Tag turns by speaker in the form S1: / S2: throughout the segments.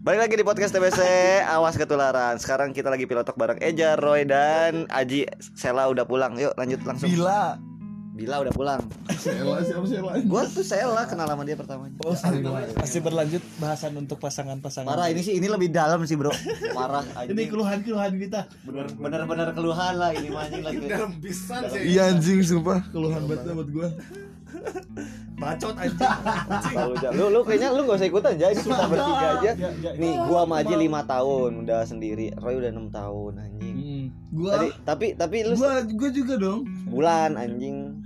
S1: Balik lagi di podcast TBC Awas ketularan Sekarang kita lagi pilotok bareng Eja, Roy, dan Aji Sela udah pulang Yuk lanjut langsung
S2: Bila
S1: Bila udah pulang
S3: Sela siapa Sela?
S1: Gua tuh Sela kenal sama dia pertamanya
S2: Oh, sering banget. Pasti berlanjut bahasan untuk pasangan-pasangan.
S1: Parah ini sih ini lebih dalam sih bro Parah
S4: Ini keluhan-keluhan kita,
S1: Bener- bener-bener keluhan lah ini mancing lagi
S3: Dalam pisan sih.
S2: Iya anjing sumpah.
S4: keluhan banget lah buat gua.
S3: Bacot anjing.
S1: Terlalu jauh. Lu, lu kayaknya lu gak usah ikutan aja ini kita bertiga aja
S4: Ya, ya,
S1: Nih gua sama Aji 5 tahun udah sendiri Roy udah 6 tahun anjing
S2: Hmm.
S4: Gua
S1: Tadi, tapi tapi lu
S4: gua gua juga dong.
S1: bulan anjing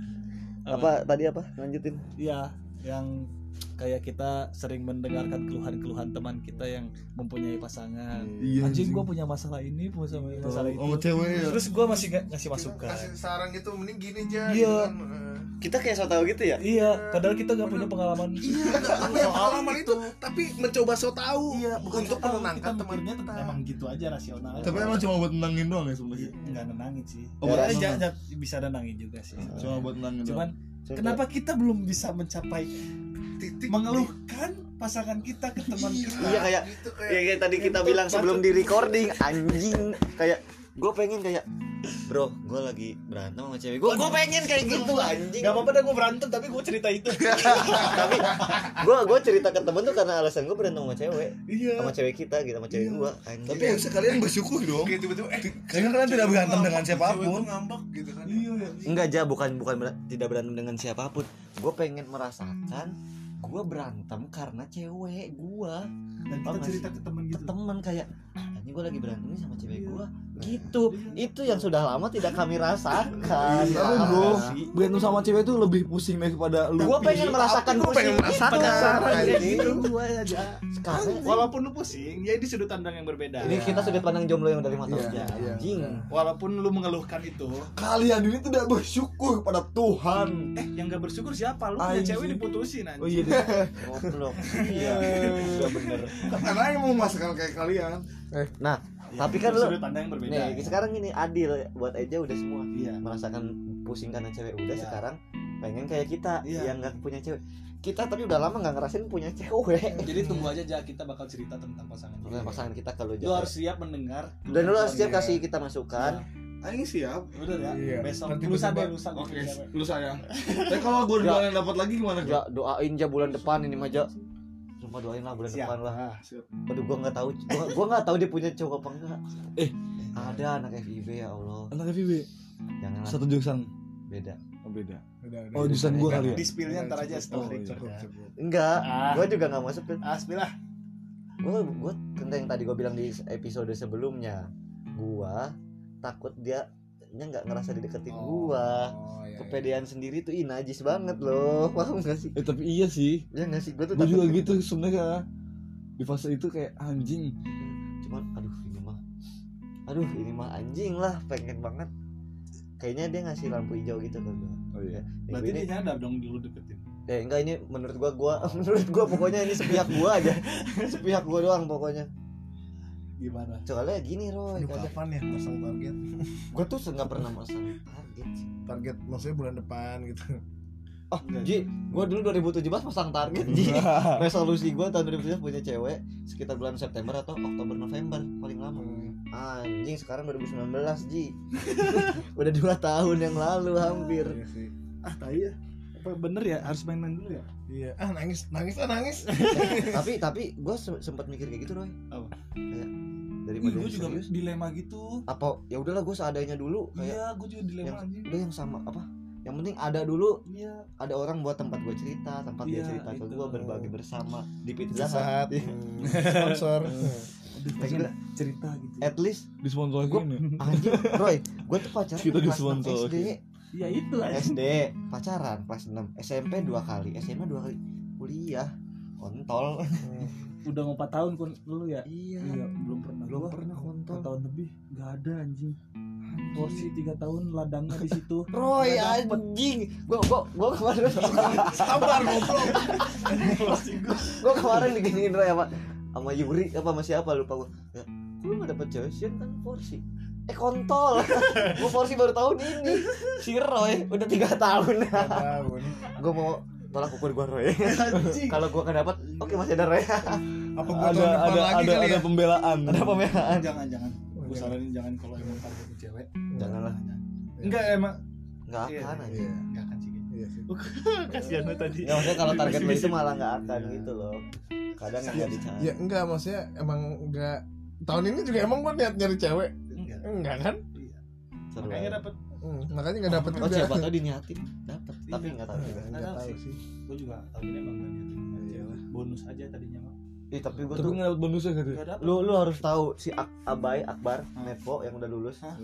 S1: apa tadi apa lanjutin
S2: Iya, yang kayak kita sering mendengarkan keluhan-keluhan teman kita yang mempunyai pasangan.
S3: Iya,
S2: anjing gua punya masalah ini, punya masalah itu.
S3: Oh, cewek ya.
S2: Terus gua masih nggak ngasih masukan.
S3: Kasih saran gitu mending gini aja.
S2: Iya.
S3: gitu kan.
S1: kita kayak so tau gitu ya
S2: Iya, padahal kita nggak punya pengalaman.
S3: Iya, nggak punya pengalaman
S4: gitu.
S3: itu, tapi mencoba so tahu
S4: Iya,
S3: untuk
S4: Tahu,
S3: menenangkan
S4: kita
S3: teman
S4: mikirnya
S3: kita.
S4: tetap emang gitu aja rasional.
S5: Tapi emang cuma buat nenangin doang ya sebenarnya.
S2: Nggak nenangin sih.
S5: Oh,
S2: Ya,
S5: iya.
S2: ja- ja- bisa nenangin juga sih.
S5: Cuma buat nenangin doang.
S2: Cuman kenapa kita belum bisa mencapai
S3: Titik
S2: mengeluhkan pasangan kita ke teman kita?
S1: iya kayak
S3: gitu
S1: ya
S3: kayak
S1: kayak tadi kita bilang sebelum di recording anjing kayak gue pengen kayak bro gue lagi berantem sama cewek gue gue pengen kayak gitu anjing
S4: Gak apa-apa dah gua berantem tapi gua cerita itu.
S1: tapi gue gue cerita ke temen tuh karena alasan gue berantem sama cewek
S4: Iya.
S1: sama cewek kita gitu sama cewek gue anjing
S5: Tapi ya, harusnya kalian bersyukur dong.
S3: Kayak tiba-tiba eh
S5: Karena kalian tidak berantem dengan siapapun.
S3: ngambek gitu kan.
S4: Iya.
S1: enggak aja bukan bukan ber- tidak berantem dengan siapapun gue pengen merasakan gue berantem karena cewek gue
S4: Dan kita cerita ke teman
S1: ke
S4: gitu.
S1: temen kayak "Ah,
S4: Hmm.
S1: ini gue lagi berantem nih sama cewek gue
S4: Iya.
S1: gitu itu yang sudah lama tidak kami rasakan Iya,
S4: Iya,
S5: Tapi
S1: Parah
S5: bro,
S1: sih.
S5: berantem sama cewek itu lebih pusing daripada lu.
S1: gue pengen merasakan
S3: Gua pengen merasakan,
S1: kayak
S3: anjing.
S1: gitu
S4: Gua aja.
S1: sekarang
S4: Walaupun lu pusing, ya ini sudut pandang yang berbeda.
S1: ini kita sudut pandang jomblo yang dari mata
S5: Iya,
S1: aja
S5: iya.
S1: anjing
S4: Walaupun lu mengeluhkan itu,
S5: Kalian ini tidak bersyukur pada Tuhan.
S4: eh yang gak bersyukur siapa? Lu punya
S5: Anjing.
S4: cewek diputusin anjing.
S5: Oh iya. deh.
S1: goblok iya udah bener
S3: Karena yang mau memasakkan kayak kalian.
S1: nah
S4: Ya,
S1: tapi kan
S4: itu
S1: lu
S4: sudut pandang yang berbeda.
S1: nih sekarang ini adil buat aja udah semua
S4: Iya.
S1: merasakan pusing karena cewek udah
S4: Iya.
S1: sekarang pengen kayak kita
S4: Iya.
S1: yang nggak punya cewek kita tapi udah lama nggak ngerasain punya cewek
S4: Jadi tunggu aja Ja, kita bakal cerita tentang pasangan kita.
S1: Nah, pasangan kita kalau
S4: Lu
S1: jauh
S4: harus siap mendengar.
S1: dan lu harus siap
S4: Iya.
S1: kasih kita masukan
S3: Aing siap.
S4: Udah ya.
S5: Iya.
S4: Besok
S5: Nanti
S4: lusa
S5: gua
S4: deh
S5: coba.
S4: lusa gua
S3: Oke,
S4: cewek.
S3: lu saya. Tapi kalau gue
S1: Ya.
S3: udah dapat lagi gimana? Gak.
S1: Ja, doain ja bulan depan ini mah ja Sumpah doain lah bulan
S4: Siap.
S1: depan lah
S3: Ah, siap.
S1: Aduh gua gak tahu gua, gua gak tahu dia punya cowok apa enggak Eh Ada anak FIB ya Allah
S5: Anak FIB
S1: Jangan lah,
S5: satu jurusan.
S1: beda
S3: beda.
S5: Oh jurusan gua kali ya.
S4: Di spillnya ntar aja setelah record. ya.
S1: Enggak
S4: Ah.
S1: Gua juga gak masuk Pil.
S4: Ah, spill lah.
S1: Gua, gua tentang yang tadi gua bilang di episode sebelumnya Gua takut dia nya nggak ngerasa dideketin gua kepedean sendiri tuh ih najis banget loh paham gak sih
S5: Eh tapi iya sih.
S1: ya nggak sih gua tuh
S5: Gua juga
S1: takut
S5: gitu sebenarnya. Di fase itu kayak anjing.
S1: cuman aduh ini mah aduh ini mah anjing lah pengen banget kayaknya dia ngasih lampu hijau gitu kan gua
S5: Oh
S1: iya. Minggu
S4: Berarti
S1: ini
S4: dia nyadar dong dulu deketin.
S1: eh enggak ini menurut gua gua menurut gua pokoknya ini sepihak gua aja sepihak gua doang pokoknya
S4: Gimana?
S1: soalnya gini Roy
S6: Aduh,
S1: kadang
S6: kapan ya pasang target?
S1: gua tuh nggak pernah masang target sih
S6: Target maksudnya bulan depan gitu.
S1: oh
S2: Iya,
S1: Ji gua dulu 2017 pasang target Ji resolusi gua tahun 2017 punya cewek sekitar bulan September atau Oktober November paling lama
S2: Oh, iya.
S1: anjing sekarang 2019 Ji udah dua tahun yang lalu hampir
S6: Iya sih.
S4: Ah, tai ya. Apa bener ya harus main-main dulu ya?
S6: Iya. Ah nangis, nangis ah nangis.
S1: tapi tapi gue sempat mikir kayak gitu Roy
S4: Apa?
S1: kayak
S4: Iya,
S2: Ih,
S1: daripada
S2: gua
S1: yang
S2: juga
S1: serius,
S2: dilema gitu.
S1: apa ya udahlah gue seadanya dulu kayak
S2: Iya, gua juga dilema anjing.
S1: udah yang sama apa yang penting ada dulu
S2: Iya.
S1: ada orang buat tempat gue cerita tempat dia
S2: Iya,
S1: cerita ke
S2: itu.
S1: gue berbagi bersama di pizza Hut.
S6: Sesaat.
S3: Iya,
S6: Sponsor.
S2: Aduh,
S1: Pengen
S2: pengen cerita gitu.
S1: at least
S5: Di sponsor
S1: Gua-
S5: ini.
S1: anjing Roy gue tuh pacaran
S5: Kita
S1: kelas enam
S5: disponsori.
S1: SD
S2: Ya itu anjing.
S1: SD pacaran kelas 6 SMP dua kali SMA dua kali kuliah kontol
S2: Udah mau 4 tahun kon lu ya?
S1: iya
S2: Iya, belum pernah.
S1: belum
S2: Gua
S1: pernah
S2: empat
S1: kontol
S2: tahun lebih nggak ada anjing. Porsi 3 tahun ladangnya di situ.
S1: Roy
S2: Nggak dapet.
S1: anjing gue gue gue kemarin
S3: Sabar goblok.
S1: gue kemarin diginiin Roy sama sama Yuri apa sama siapa lupa gue ya, kok lu gak dapet cewek sih kan porsi eh kontol gue porsi baru tahun ini si Roy udah tiga tahun
S6: Tahun.
S1: gue mau tolak ukur gua Roy kalau gua nggak dapat oke masih ada Roy
S6: apa gua
S5: ada
S6: tahun depan
S5: ada
S6: lagi
S5: ada
S6: kali
S5: ada
S6: ya
S5: pembelaan
S1: ada pembelaan
S4: jangan jangan
S6: Oh,
S4: gue
S6: iya.
S4: saranin jangan kalau emang target ke cewek
S1: janganlah
S4: enggak emang
S1: nggak akan aja
S6: iya
S4: enggak akan sih Ya,
S6: iya sih
S2: kasihan lu tadi Iya,
S1: nggak Iya, maksudnya kalau target lo itu malah nggak akan gitu loh kadang nggak dicari
S6: ya enggak maksudnya emang enggak tahun ini juga emang gua niat nyari cewek
S4: enggak
S6: enggak kan
S1: Seru
S4: makanya
S1: aja.
S4: dapet
S6: Hmm, makanya nggak dapet
S1: oh
S6: juga
S1: siapa tau diniatin dapat tapi nggak tahu juga
S6: nggak tahu sih
S4: gue juga tahun ini emang gak gitu bonus aja tadinya mah
S1: Ih, Iya, tapi gua
S5: tapi
S1: tuh
S5: nggak dapat bonusnya gitu
S4: gak dapet
S1: lu lu harus tahu si Ak Abai Akbar Nepo yang udah lulus
S4: Hah?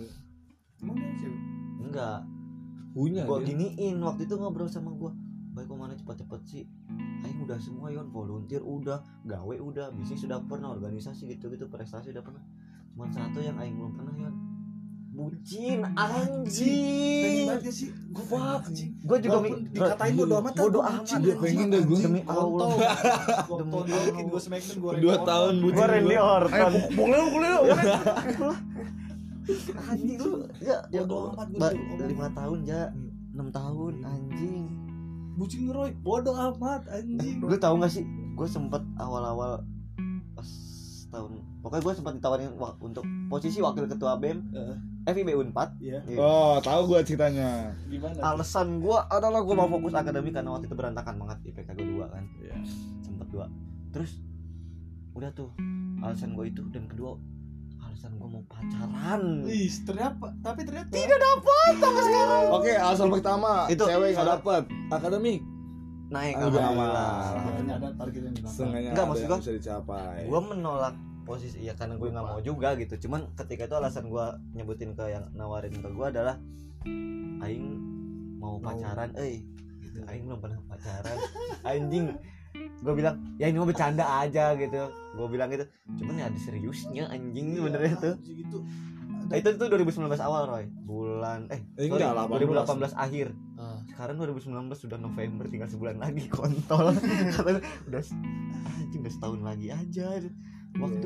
S4: emang dia cewek
S1: enggak
S4: Iya,
S5: punya
S1: gua
S5: dia.
S1: giniin waktu itu ngobrol sama gua baik kemana cepet-cepet sih Aing udah semua yon volunteer udah gawe udah bisnis sudah pernah organisasi gitu-gitu prestasi udah pernah cuma satu yang Aing belum pernah yon bucin
S4: pengen
S1: anjing
S4: banget dia sih gue
S1: Fuck.
S4: anjing
S1: Gua juga
S4: Walaupun
S1: mik-
S4: dikatain bodo amat
S1: bodo
S4: gua
S1: amat
S4: bucin,
S1: gua
S4: anjing.
S5: pengen deh gua.
S1: demi Allah
S4: Waktu
S1: Demi
S4: dia
S1: Allah.
S4: gue smackdown gue
S5: dua tahun bucin
S1: gua Randy
S5: gua.
S6: ayo
S1: Orton
S6: boleh lu boleh lu
S5: Iya.
S1: anjing lu ya ya
S4: Bodo amat gua
S1: ba-
S4: dulu, ngomong. Hmm.
S1: lima tahun ja enam tahun anjing
S4: bucin Roy bodo amat anjing
S1: lu tahu gak sih gue sempet awal-awal pas tahun pokoknya gue sempat ditawarin wa- untuk posisi wakil ketua E bem
S4: Heeh.
S1: FIB Unpad
S4: Iya.
S5: oh tahu gua ceritanya
S4: gimana
S1: alasan gue adalah gue mau fokus akademik karena waktu itu berantakan banget IPK gue dua kan
S5: Iya.
S1: sempet dua terus udah tuh alasan gue itu dan kedua alasan gue mau pacaran
S4: Ih, ternyata tapi ternyata
S5: oke alasan pertama
S1: Itu-
S5: cewek nggak
S1: salah.
S5: dapat akademik
S1: naik
S5: Aduh,
S1: alhamdulillah
S5: aman.
S4: Akhirnya ada target yang Iya, dilakukan.
S5: sengaja
S1: Nggak,
S5: ada
S1: maksud
S5: yang
S1: gua-
S5: bisa dicapai
S1: gue menolak posisi ya karena gue nggak mau juga gitu cuman ketika itu alasan gue nyebutin ke yang nawarin ke gue adalah aing mau pacaran eh gitu aing belum pernah pacaran anjing gue bilang ya ini mau bercanda aja gitu gue bilang gitu cuman ya ada seriusnya anjing sebenarnya tuh
S4: Anjing, itu.
S1: Nah, itu tuh 2019 awal Roy bulan eh
S5: Eh,
S1: sorry,
S5: enggak,
S1: 2018 akhir sekarang 2019 sudah November tinggal sebulan lagi kontol Katanya, udah se- anjing udah setahun lagi aja waktu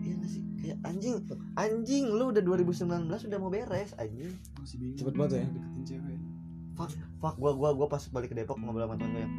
S1: iya nggak sih kayak anjing anjing lu udah 2019 udah mau beres anjing
S4: Masih bingung.
S5: Cepet banget ya.
S4: Deketin cewek.
S1: fuck gua gua gua pas balik ke Depok ngobrol sama temen gua yang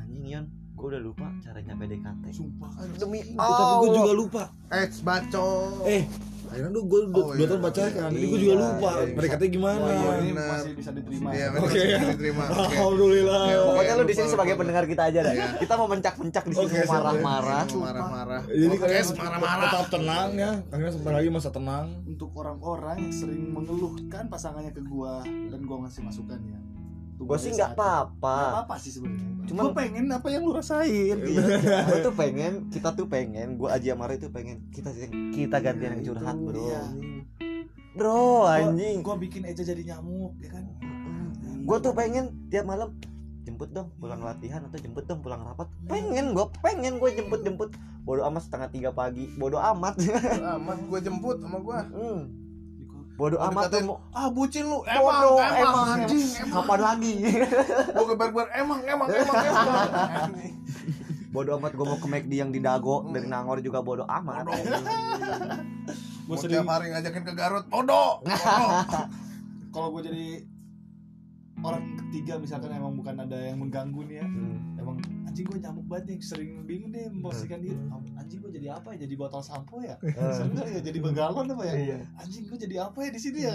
S1: anjing Yon gua udah lupa caranya PDKT
S4: Sumpah kan.
S1: demi
S5: Eh, tapi gue
S1: Allah
S5: juga lupa
S6: eh Oh, baco
S5: Eh, akhirnya tuh gue
S6: Oh,
S5: dua
S6: iya.
S5: tahun kan? pacaran tapi gue
S1: Iya,
S5: juga lupa
S1: iya.
S5: mereka tuh gimana
S4: Wah, iya, ini
S6: bener.
S4: masih bisa diterima.
S6: Iya,
S4: Iya,
S6: bener,
S5: Oke.
S6: masih diterima. Oke.
S5: Oh,
S1: Iya,
S5: alhamdulillah
S6: Oke, oke.
S1: pokoknya lu di sini
S6: lupa,
S1: sebagai
S6: lupa.
S1: pendengar kita aja dah ya.
S6: Iya.
S1: kita mau mencak-mencak di sini
S6: Oke,
S1: mau
S6: siap,
S1: marah-marah
S6: Iya, mau marah-marah.
S5: jadi
S6: Oh,
S5: kalian
S6: guys, marah-marah.
S5: tetap tenang ya karena sebentar lagi masa tenang
S4: Untuk orang-orang yang sering mengeluhkan pasangannya ke gua dan gua ngasih masukan ya. Tuh,
S1: gua sih nggak
S4: saat- Nggak
S1: apa-apa
S4: apa-apa sih sebenarnya.
S1: Cuman-
S4: Gua pengen apa yang lu rasain.
S1: gue tuh pengen kita tuh pengen gue aja marah itu pengen kita kita gantian yang curhat bro
S4: Iya.
S1: bro anjing
S4: Gua bikin Eja jadi nyamuk ya kan.
S1: gue tuh pengen tiap malam jemput dong pulang latihan atau jemput dong pulang rapat pengen gue pengen gue jemput jemput bodoh amat setengah tiga pagi bodoh amat
S6: amat gue Ah, jemput sama gue
S1: Hmm. bodoh amat tuh
S6: Dikatain,
S1: mau-
S6: ah bucin lu emang
S1: bodoh
S6: emang,
S1: emang
S6: anjing emang
S1: kapan lagi
S6: gue kebar emang emang emang emang
S1: bodoh amat gue mau ke McD yang di Dago dari Nangor juga bodoh amat
S6: bodoh
S4: Gua
S6: Gua
S4: sering
S6: tiap hari ngajakin ke Garut bodoh bodoh
S4: kalau gua jadi orang ketiga misalkan emang bukan ada yang mengganggu nih ya
S1: Hmm.
S4: emang anjing gue nyamuk banget nih sering bingung deh memposisikan diri anjing gue jadi apa ya jadi botol sampo ya
S1: Hmm. Eh.
S4: sebenarnya ya jadi begalon apa ya
S1: Iya.
S4: anjing gue jadi apa ya di sini ya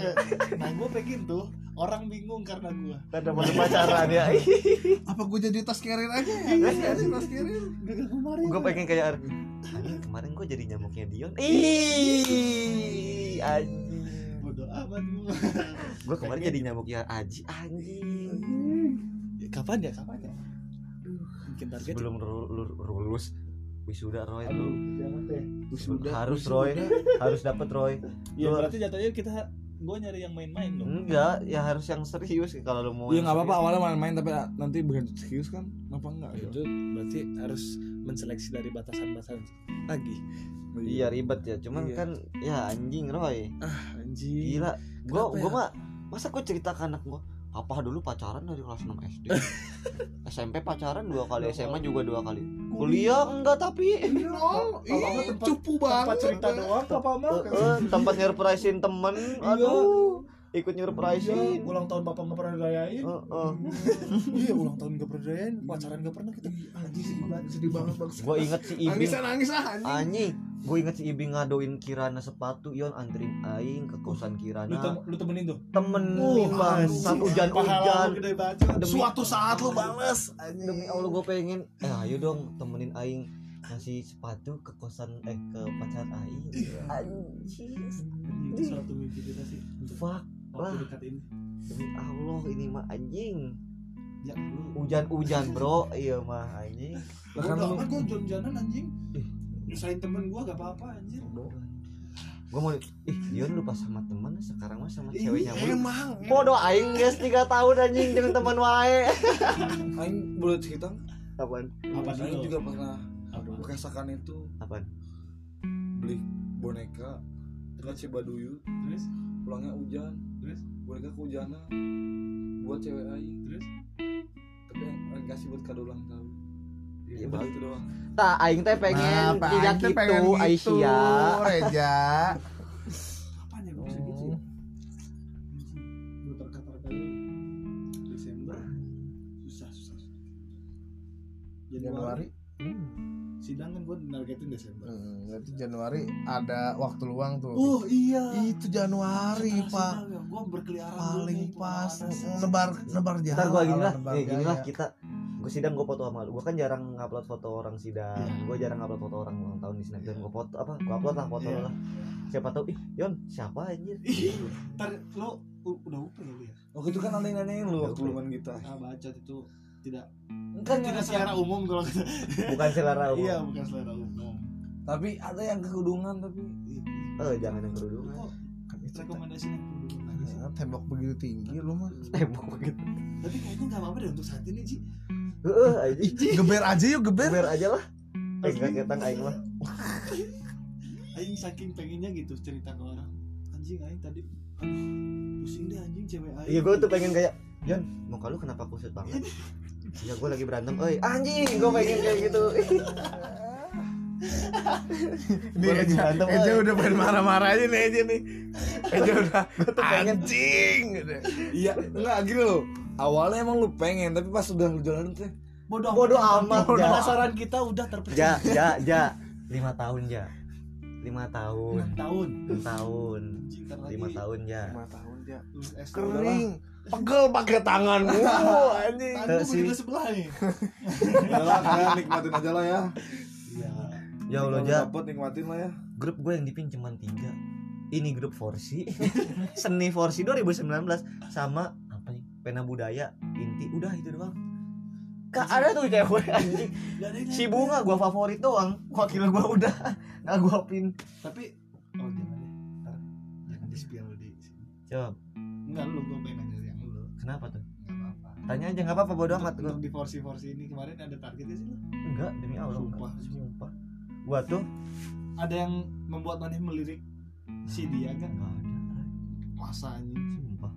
S4: nah gue pengen tuh orang bingung karena gue
S1: Karena baru pacaran ya
S6: apa gue jadi tas carrier aja ya Anjing, tas carrier
S4: gagal kemarin
S1: gue pengen kayak "Anjing, kemarin gue jadi nyamuknya Dion ih
S4: bodo amat gue
S1: gue kemarin jadi nyamuknya Aji anjing
S2: kapan ya
S4: kapan ya
S2: mungkin target
S1: sebelum ru- lu- lulus wisuda Roy lu
S4: jangan deh
S1: Wisuda, harus Roy harus dapet Roy
S2: ya
S1: Lu-
S2: berarti jatuhnya kita gue nyari yang main-main dong
S1: enggak ya harus yang serius kalau lu mau
S5: Iya
S1: yang
S5: nggak apa-apa
S1: serius.
S5: awalnya main-main tapi nanti berhenti serius kan? Kenapa enggak?
S2: itu berarti harus menseleksi dari batasan-batasan lagi
S1: iya ribet ya cuman
S5: Iya.
S1: kan ya anjing Roy
S5: anjing.
S1: gila gue
S5: Kenapa
S1: gue
S5: ya?
S1: mah masa gue cerita ke anak gue papa dulu pacaran dari kelas 6 SD SMP pacaran dua kali SMA juga dua kali kuliah enggak tapi
S6: Oh,
S4: Apa-apa
S6: ih,
S4: tempat-
S6: cupu
S4: tempat
S6: banget
S2: kan? Iya.
S4: cerita doang apa mah
S1: Eh, eh, tempat surprisein temen aduh ikut nyuruh
S4: Iya,
S1: pricing
S4: ulang tahun bapak nggak pernah dirayain
S1: Heeh.
S4: iya ulang tahun nggak pernah dirayain pacaran nggak pernah kita
S6: Anjing sedih banget, sedih banget bangsa.
S1: gue inget si ibing
S6: Nangisnya nangis ah anjing.
S1: anjing gue inget si ibing ngadoin kirana sepatu yon anterin aing ke kosan kirana
S4: lu, tem- lu temenin tuh
S1: temenin bangsat hujan-hujan
S4: gede banget
S1: Demi-
S3: Suatu saat lo bales anjing.
S1: demi allah gue pengen eh ayo dong temenin aing ngasih sepatu ke kosan eh ke pacar aing anjing
S4: itu suatu mimpi kita sih untuk
S1: fuck
S4: waktu
S1: Wah.
S4: dekat ini
S1: demi allah ini mah anjing
S4: ya lu
S1: Oh, hujan-hujan bro iya mah anjing
S5: Lah kan
S4: Bodoh
S5: lu-
S4: amat gue jalan-jalan anjing Nyusahin temen gue gak apa-apa anjir
S1: gue mau ih Dion lupa sama teman sekarang mah sama
S4: Hmm. Ih, iya,
S1: ceweknya mulu Oh.
S3: Emang.
S1: bodoh aing guys tiga tahun anjing dengan teman wae
S5: Aing boleh cerita nggak?
S1: apaan
S4: Apa
S5: Aing
S4: dulu?
S5: juga pernah
S4: Apa?
S5: merasakan itu
S1: apaan
S5: beli boneka dekat Cibaduyu
S4: Terus?
S5: pulangnya hujan
S4: Terus?
S5: boneka kehujanan buat cewek aing
S4: Terus?
S5: tapi yang aing kasih buat kado ulang tahun
S1: Iya,
S5: Udah itu doang
S1: tak aing teh pengen
S6: Pak,
S1: tidak
S6: Aing teh
S1: gitu
S6: pengen gitu,
S1: Aisyah
S6: Reja.
S4: Kapan ya gak bisa gitu ya Gue terkata-kata Desember Susah susah susah. Januari
S6: Januari. Hmm.
S4: Sidang kan gue nargetin Desember
S6: Hmm, berarti Januari ada waktu luang tuh.
S1: Uh.
S4: Oh iya
S6: itu Januari, Pak.
S4: Gue berkeliaran dulu,
S6: Paling pas
S4: pengalaman.
S6: nebar nebar jalan.
S1: Ntar gue gini lah,
S6: nebar
S1: eh, gini lah
S6: Ya gaya.
S1: kita Gue sidang gue foto sama lu Gue kan jarang ngupload foto orang sidang
S4: Iya.
S1: Gue jarang ngupload foto orang ulang tahun di snapgram Gue foto apa, gue upload lah foto
S4: Iya.
S1: lu lah Siapa tau, ih Yon siapa anjir
S4: Ih, Iya. Ntar lo u- udah upe ya lu ya
S5: waktu itu kan ada yang nanyain
S4: Iya,
S5: lu waktu gitu.
S1: Oke.
S5: lu main gitar
S4: Ah bacot itu tidak
S5: kan
S4: Tidak secara umum kalau kata
S1: Bukan selera umum
S4: Iya bukan selera umum
S5: tapi ada yang kekerudungan tapi
S4: Iya.
S1: Eh jangan yang kerudungan
S4: Kok
S6: Kan itu
S4: rekomendasi yang dulu lagi sih?
S6: te- tembok begitu tinggi lu mah.
S1: Tembok begitu
S4: Tapi kayaknya gak apa-apa deh untuk saat ini Ji
S1: Heeh anjir
S6: Geber aja yuk geber.
S1: Ber aja lah Eh gak ketang aing mah
S4: Aing saking pengennya gitu cerita ke orang Anjing Aing tadi aduh, pusing deh anjing cewek Aing
S1: Iya gue tuh pengen kayak Yon muka lu kenapa kusut banget Ya gue lagi berantem, oi anjing gue pengen kayak gitu
S6: Ini
S1: Gua lagi
S6: Eja,
S1: berantem,
S6: Eja
S1: woy.
S6: udah pengen marah-marah aja nih Eja nih. Eja udah
S1: pengen.
S6: anjing. gitu.
S5: iya enggak gini loh awalnya emang lu pengen tapi pas udah lu jalan teh
S4: Bodoh
S1: Bodoh amat, Iya.
S4: Bodoh
S1: Ja.
S4: Penasaran kita udah terpecah
S1: Ja, ja, ja Lima tahun ja Lima tahun
S4: 6 tahun
S1: Enam tahun
S4: Anjing ntar lagi
S1: lima tahun ya
S5: lima tahun dia
S4: lulus SD
S6: Kering. Pegel pakai tanganmu anjing.
S4: Tangan gue
S1: Tuh,
S4: begini
S1: si-
S4: sebelah nih
S5: udahlah kalian nikmatin aja lah ya
S4: Iya
S1: ya Allah
S5: Kalau
S1: ja
S5: dapet nikmatin lah ya
S1: grup gue yang dipin cuma tiga ini grup Forsi seni Forsi 2019 sama apa nih pena budaya inti udah itu doang Kak ada tuh cewek anjing.
S4: Gak ada yang
S1: Si bunga gua favorit doang Wakil gua udah Gak gua pin
S4: Tapi Oh jangan deh Ntar Jangan di spill di sini
S1: Coba
S4: Enggak lu gue pengen nanya yang lu
S1: kenapa tuh
S4: Gak apa-apa
S1: Tanya aja gak apa-apa bodo amat
S4: Untuk-
S1: gua
S4: Untuk di forsi-forsi ini kemarin ada targetnya sih lu
S1: Enggak demi Allah
S4: Sumpah.
S1: enggak. Sumpah Gua tuh
S4: Ada yang membuat maneh melirik si dia gak?
S1: Gak ada
S4: Masa anjing
S1: Sumpah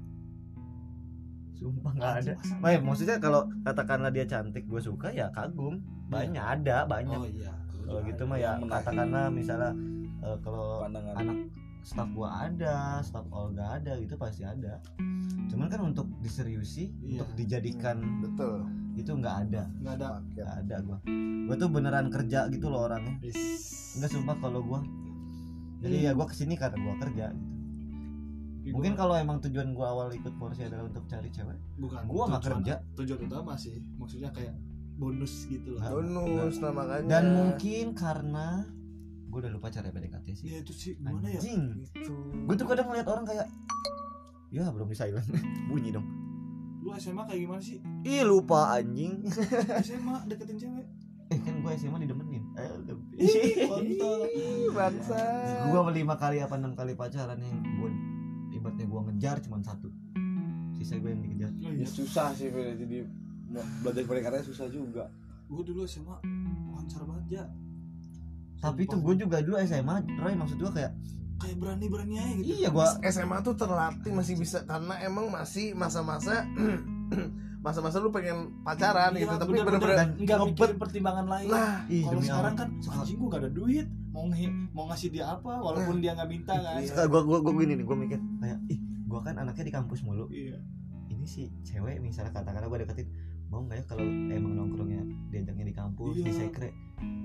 S1: Sumpah gak ada Wah, maksudnya kalau katakanlah dia cantik gue suka ya kagum banyak ada banyak
S4: Iya. Oh iya
S1: kalau gitu mah ya katakanlah misalnya eh, kalau
S5: pandangan
S1: anak staff gua ada staff Olga ada gitu pasti ada cuman kan untuk diseriusi
S4: Iya.
S1: untuk dijadikan
S6: Betul.
S1: itu nggak ada
S4: Gak ada
S1: nggak ada gua gua tuh beneran kerja gitu loh orangnya nggak sumpah kalau gua jadi ya gua kesini karena gua kerja gitu. mungkin kalau emang tujuan gua awal ikut porsi adalah untuk cari cewek
S4: Bukan
S1: gua nggak
S4: tujuan-
S1: kerja.
S4: Tujuan utama sih Maksudnya kayak bonus gitu
S1: Nggak.
S4: lah
S6: Bonus nah makanya.
S1: dan mungkin karena gua udah lupa cara PDKT sih
S4: Ya itu sih gimana ya
S1: anjing gue tuh kadang ngeliat orang kayak ya belum di silent bunyi dong
S4: Lu SMA kayak gimana sih
S5: Iya,
S1: ih lupa anjing
S4: SMA deketin cewek
S1: eh kan gue SMA didemenin Eh,
S4: Ih, Oh, kontol
S6: bangsa.
S1: gue lima kali apa enam kali pacaran yang gue ibaratnya gue ngejar cuman satu sisa gue yang dikejar
S4: Oh
S5: Ya,
S4: iya
S5: susah sih Fede. jadi mau belajar pendekatannya susah juga
S4: Gue dulu SMA Lancar banget ya
S1: tapi tuh gue juga dulu SMA Roy maksud gue kayak
S4: Kayak berani-berani aja gitu
S1: iya gue
S6: SMA tuh terlatih masih bisa karena emang masih masa-masa masa-masa lu pengen pacaran gitu
S5: Iya,
S6: tapi bener-bener
S1: bener-bener
S4: Iya, nggak
S6: ngebet.
S4: mikirin pertimbangan lain
S6: nah
S1: ih
S4: kalau
S1: demi
S4: sekarang
S1: Allah
S4: kan anjing gua gak ada duit mau nge- mau ngasih dia apa walaupun dia nggak minta kan
S1: gue gue gue gini nih gue mikir kayak ih gua kan anaknya di kampus mulu
S4: Iya.
S1: ini si cewek misalnya katakanlah gue deketin mau nggak ya kalau emang nongkrongnya diajaknya di kampus di
S4: Iya.
S1: sekre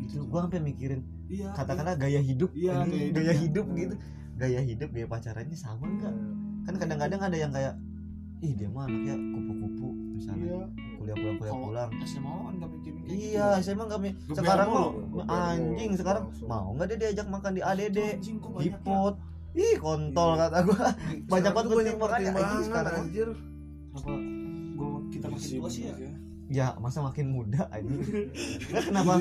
S1: itu gue sampai mikirin
S4: Iya.
S1: katakanlah gaya hidup
S4: Iya,
S1: anjing,
S4: gaya hidup
S1: gaya
S4: ya.
S1: hidup
S4: Hmm.
S1: gitu gaya hidup dia pacarannya sama nggak kan kadang-kadang ada yang kayak ih dia mah anaknya kupu-kupu misalnya
S4: Iya.
S1: kuliah pulang kuliah
S4: Kalau-
S1: pulang
S4: SMA kan nggak mikirin kayak gitu.
S1: Iya, saya emang kami
S4: Geber
S1: sekarang
S4: mulu,
S1: mau
S6: geber
S1: anjing
S6: mulu,
S1: sekarang
S6: langsung.
S1: mau nggak dia diajak makan di ADD,
S4: Anjing, kok banyak ya?
S1: hipot, ih kontol kata gua banyak banget
S6: banyak
S1: pertimbangannya anjing
S6: pertimbangan
S1: sekarang.
S6: anjir
S4: Kenapa gua
S5: Iya,
S4: kita makin tua sih ya?
S1: Ya masa makin muda anjing. Nggak, kenapa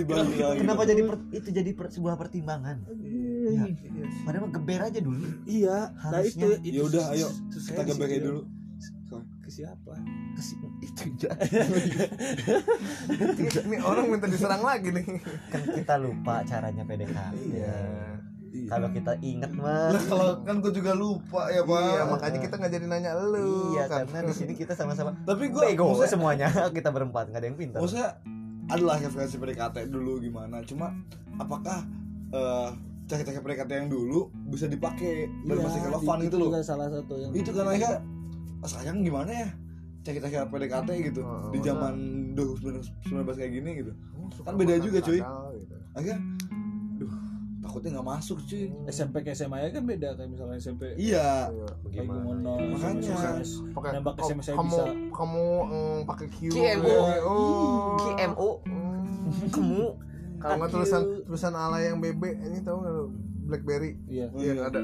S1: kenapa jadi per- itu jadi per- sebuah pertimbangan? Ya,
S6: Iya sih.
S1: padahal mah geber aja dulu.
S2: Iya, nah itu,
S1: Harusnya.
S2: itu
S5: Ya udah, ayo,
S2: sus-
S5: kita
S2: susah sih,
S5: gebekin
S2: iya.
S5: dulu
S2: Ke siapa?
S1: Kes- itu aja.
S6: Ini- ini orang minta diserang lagi nih
S1: kan kita lupa caranya PDKT. Ya. Kalau kita inget
S6: lah
S1: mah
S6: kalau kan gue juga lupa ya pak
S1: Iya,
S6: makanya kita nggak jadi nanya lu kan.
S1: Iya, karena di sini kita sama-sama
S5: tapi gue
S1: bego semuanya. Kita berempat, nggak ada yang pintar.
S5: maksudnya adalah referensi PDKT dulu gimana cuma apakah eh cari-cari PDKT yang dulu bisa dipakai dan
S4: Iya,
S5: masih relevan gitu loh
S2: juga salah satu yang
S5: itu kan akhirnya sayang gimana ya cari-cari PDKT gitu
S6: Oh,
S5: di
S6: masa-
S5: zaman 2019 kayak gini gitu Kan beda juga, cuy.
S6: gitu.
S5: akhirnya duh takutnya nggak masuk cuy
S4: Oh. Iya.
S2: SMP ke SMA ya kan beda kayak misalnya SMP
S5: iya
S2: kayak gimana
S5: Makanya.
S2: SMS.
S6: pakai
S2: Nembak
S6: ko-
S2: SMS saya
S6: kamu
S2: bisa.
S6: kamu mm, pakai Q
S1: KMO.
S6: Oh.
S1: KMO,
S6: Mm.
S1: kamu
S6: kalau nggak tulisan tulisan ala yang BB ini tahu nggak lu? BlackBerry
S2: Iya.
S6: iya ada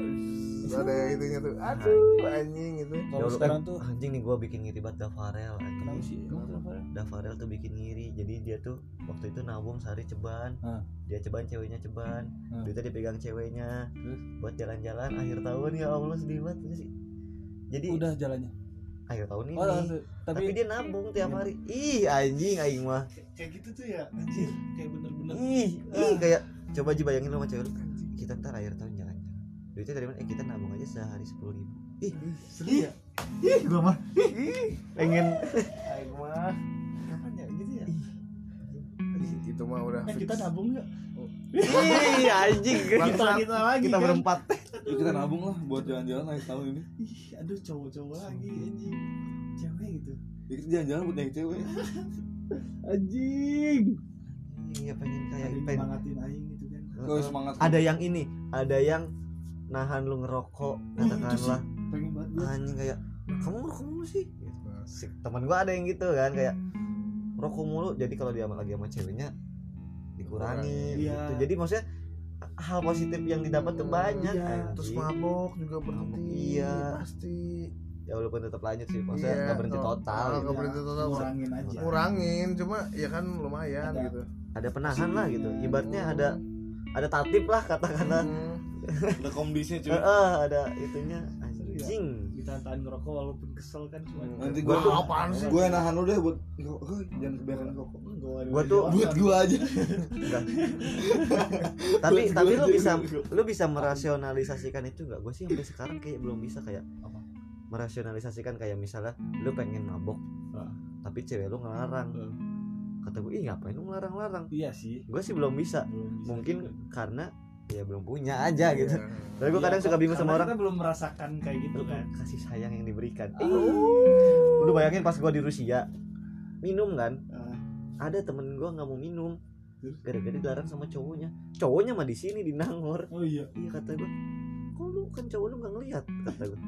S6: ada yang itunya tuh aduh anjing gitu
S1: Ya
S2: Kalau
S1: Allah,
S2: sekarang
S1: eh,
S2: tuh
S1: anjing nih gua bikin ngiri banget Davarel
S2: kenapa
S1: anjing.
S2: sih? Emang kenapa?
S1: Davarel tuh bikin ngiri. Jadi dia tuh waktu itu nabung sehari ceban.
S2: Hah.
S1: Dia ceban ceweknya ceban.
S2: Hah.
S1: Duitnya dipegang ceweknya.
S2: Ah. Terus?
S1: Buat jalan-jalan akhir tahun ya Allah sedih banget gua sih. Jadi
S2: Udah jalannya.
S1: akhir tahun ini.
S2: Oh, langsung.
S1: tapi,
S2: tapi,
S1: dia nabung tiap hari. Ih anjing aing mah.
S4: Kayak gitu tuh ya. Anjir, kayak bener-bener
S1: Ih,
S2: ah.
S1: ih kayak coba aja bayangin lu sama cewek lu. Kita ntar akhir tahun jalan. Duitnya dari mana? Eh kita nabung aja sehari sepuluh ribu. Ih,
S4: sedih ya.
S1: ih gua mah pengen
S6: Aing mah.
S4: Kapan ya gitu ya?
S6: itu mah udah
S4: Eh kita nabung nggak?
S1: Ih anjing
S4: Kita
S1: kita
S4: kita lagi
S1: kita
S4: kan?
S1: berempat.
S5: Ya, kita nabung lah buat jalan-jalan akhir tahun ini
S4: Ih, aduh cowok-cowok lagi anjing. Cewek gitu.
S5: Ya, kita jalan-jalan buat nyari cewek
S4: Anjing.
S1: Iya pengen kayak
S4: Ada yang
S1: pengen.
S4: nyemangatin aing gitu kan.
S5: kalau semangat
S1: Ada yang ini, ada yang nahan lu ngerokok
S6: Hmm,
S1: katakanlah
S4: Pengen banget gua.
S1: anjing kayak kamu ngerokok mulu sih si, teman gua ada yang gitu kan kayak rokok mulu jadi kalau dia lagi sama ceweknya dikurangi
S4: Iya.
S1: gitu jadi maksudnya hal positif yang didapat tuh banyak
S4: Iya,
S1: anjing.
S6: terus mabok juga
S1: Mabok,
S6: berhenti
S1: iya.
S6: pasti
S1: ya walaupun tetap lanjut sih maksudnya
S6: Iya,
S1: nggak berhenti
S6: kalau-
S1: total
S6: kalau
S1: gitu.
S6: nggak berhenti total.
S4: Kurangin Ya, aja.
S6: ngurangin cuma ya kan lumayan
S4: Iya. Ada.
S6: gitu
S1: ada penahan lah gitu
S4: Iya.
S1: ibaratnya ada ada tatip lah katakanlah
S6: Hmm.
S5: ada komdisnya
S6: Iya.
S5: cuy
S1: Heeh, ada itunya anjing
S4: Ditahan-tahan ngerokok walaupun kesel kan cuma.
S5: nanti
S6: Wah,
S5: gua tuh
S6: apaan sih?
S5: gue nahan lu deh buat "Hei, jangan kebiaran rokok
S1: Gua tuh-
S5: buat gua aja
S1: tapi
S5: Gua-
S1: tapi lu
S5: gua aja
S1: bisa
S5: dulu.
S1: lu bisa merasionalisasikan itu nggak gue sih sampai sekarang kayak belum bisa kayak
S4: Apa?
S1: merasionalisasikan kayak misalnya lu pengen mabok
S4: Ah.
S1: tapi cewek lu ngelarang
S4: Ah.
S1: kata gue ih ngapain lu ngelarang-larang
S4: Iya sih.
S1: gue sih belum bisa
S4: Belum bisa juga.
S1: mungkin karena ya belum punya aja gitu
S6: Iya.
S1: tapi gue
S4: Iya,
S1: kadang
S4: kok-
S1: suka bingung sama
S4: karena
S1: orang
S4: kita belum merasakan kayak gitu
S1: lu
S4: kan Iya.
S1: kasih sayang yang diberikan lu bayangin pas gue di Rusia minum kan
S4: Ah.
S1: ada temen gue nggak mau minum gara-gara dilarang sama cowoknya cowoknya mah di sini di Nangor
S4: oh iya
S1: iya kata gue kok lu kan cowok lu nggak ngelihat kata gue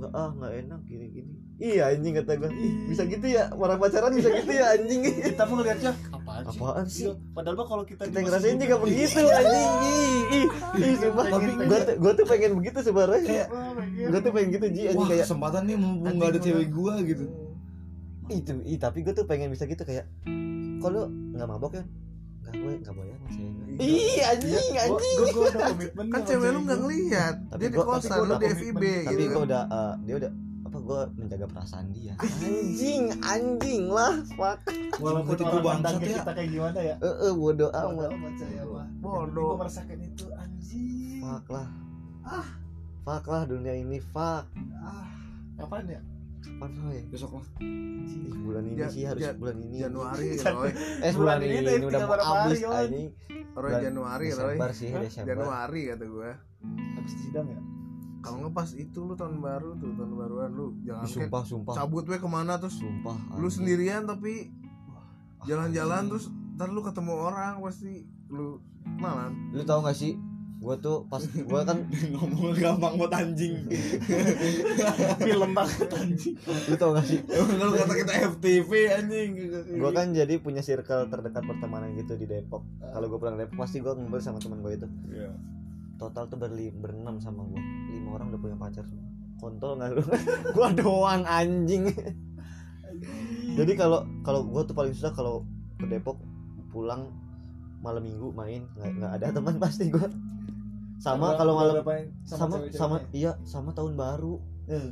S1: nggak ah nggak enak gini gini iya anjing kata gue Ih, bisa gitu ya orang pacaran bisa gitu ya anjing
S4: kita mau ngeliatnya apaan sih
S1: apaan sih
S4: Iya, padahal mah kalau
S1: kita
S4: kita dimasukin-
S1: ngerasain juga begitu anjing ih ih ih sumpah tapi gue tuh gue tuh pengen begitu sebenarnya
S5: Kayak-
S4: Oh my God.
S1: gue tuh pengen gitu ji
S5: wah
S1: anjing kayak
S5: kesempatan nih mumpung nggak ada
S1: Anjing,
S5: cewek gua gitu
S1: itu ih tapi gue tuh pengen bisa gitu kayak kok lu nggak mabok ya nggak gue nggak boleh sama cewek gue." ih anjing
S4: Gua-
S1: anjing
S4: gua- gua udah komitmen
S6: kan
S4: sama
S6: cewek lu
S4: Iya,
S6: nggak
S4: gua.
S6: ngelihat
S1: Tapi
S6: dia di
S1: gua- tapi
S6: kosan
S1: gua
S6: lu
S1: udah
S6: di FIB
S1: tapi
S6: gitu
S1: gue udah eh, dia udah apa gue menjaga perasaan dia anjing anjing lah fuck
S4: walaupun
S5: Tipe
S4: orang
S5: bangsat
S4: pandang ke
S5: ya.
S4: kita kayak gimana ya
S1: eh eh, bodo amat
S4: Bodoh amat saya mah. Yang
S6: Bodoh.
S4: penting gua merasakan itu anjing
S1: fuck lah fuck lah dunia ini fuck
S4: ah apaan ya
S1: apaan Roy?
S5: besok lah
S1: Ih, bulan ini
S6: Ja-
S1: sih harus
S6: ja-
S1: bulan ini
S6: Januari Roy
S1: eh bulan,
S4: Bulan
S1: ini,
S4: ini
S1: ini,
S4: deh,
S1: udah
S4: tinggal
S1: mau
S4: berapa hari,
S1: habis
S4: Roy?
S1: anjing
S6: Roy
S1: Bulan
S6: Januari Roy
S1: Desember sih
S4: Hah?
S1: Desember
S6: Januari kata gua
S4: habis sidang ya
S6: kalau nggak pas itu lu tahun baru tuh tahun baruan lu jangan
S1: Ih,
S6: kan kayak
S1: sumpah sumpah
S6: cabut we kemana terus
S1: sumpah
S6: lu
S1: anjing. Ah,
S6: sendirian tapi jalan-jalan terus ntar lu ketemu orang pasti lu kenalan
S1: lu tau gak sih gue tuh pas gue kan
S5: ngomong gampang buat anjing
S4: film banget anjing
S1: lu tau gak sih
S5: emang kalau kata kita FTV anjing
S1: gue kan jadi punya circle terdekat pertemanan gitu di Depok kalau gue pulang Depok pasti gue ngobrol sama teman gue itu
S5: Iya.
S1: total tuh berli berenam sama gue lima orang udah punya pacar semua kontol nggak lu gue doang anjing jadi kalau kalau gue tuh paling susah kalau ke Depok pulang malam minggu main nggak nggak ada teman pasti gue sama kalau malam sama Hmm. sama iya sama tahun baru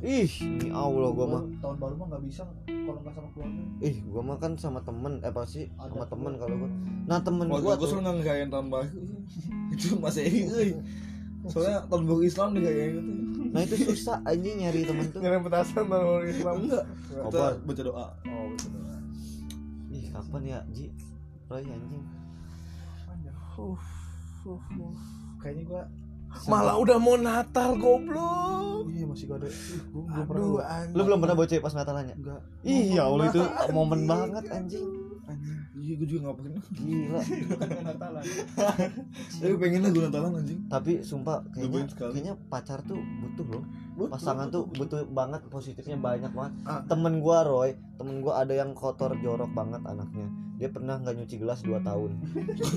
S1: ih ini allah gue mah
S4: tahun baru mah nggak bisa kalau nggak sama keluarga
S1: ih gue mah kan sama temen eh pasti
S4: Ada
S1: sama temen kalau
S4: keluarga.
S1: gue nah temen
S5: Waktu
S1: gue
S5: gue
S1: tuh
S5: selalu nggak ngerayain tahun baru itu masih euy. soalnya tahun baru Islam digayain gitu
S1: nah itu susah anjing nyari temen tuh
S6: ngirim petasan tahun Islam
S5: enggak kita
S1: Kobar.
S5: baca doa oh
S1: ih kapan ya ji Roy anjing
S6: Uf, uf, uf.
S4: kayaknya gua
S6: malah udah mau Natal goblok
S4: iya masih gak ada Ih, gua belum pernah
S6: aduh
S4: gua-
S6: anjing.
S1: lu belum pernah bawa cewek pas Natalannya
S4: Enggak.
S1: iya
S6: Momen
S1: allah itu
S6: banget,
S1: momen
S6: anjing.
S1: banget anjing
S4: anjing
S5: iya gue juga nggak pernah
S1: gila
S3: Kan
S4: bukan Natalan
S5: tapi pengen lah gue
S6: Oh,
S5: Natalan anjing
S1: tapi sumpah kayaknya
S5: Duit sekali.
S1: kayaknya pacar tuh butuh loh pasangan tuh butuh banget positifnya banyak banget
S6: Ah.
S1: temen gua Roy temen gua ada yang kotor jorok banget anaknya dia pernah nggak nyuci gelas 2 tahun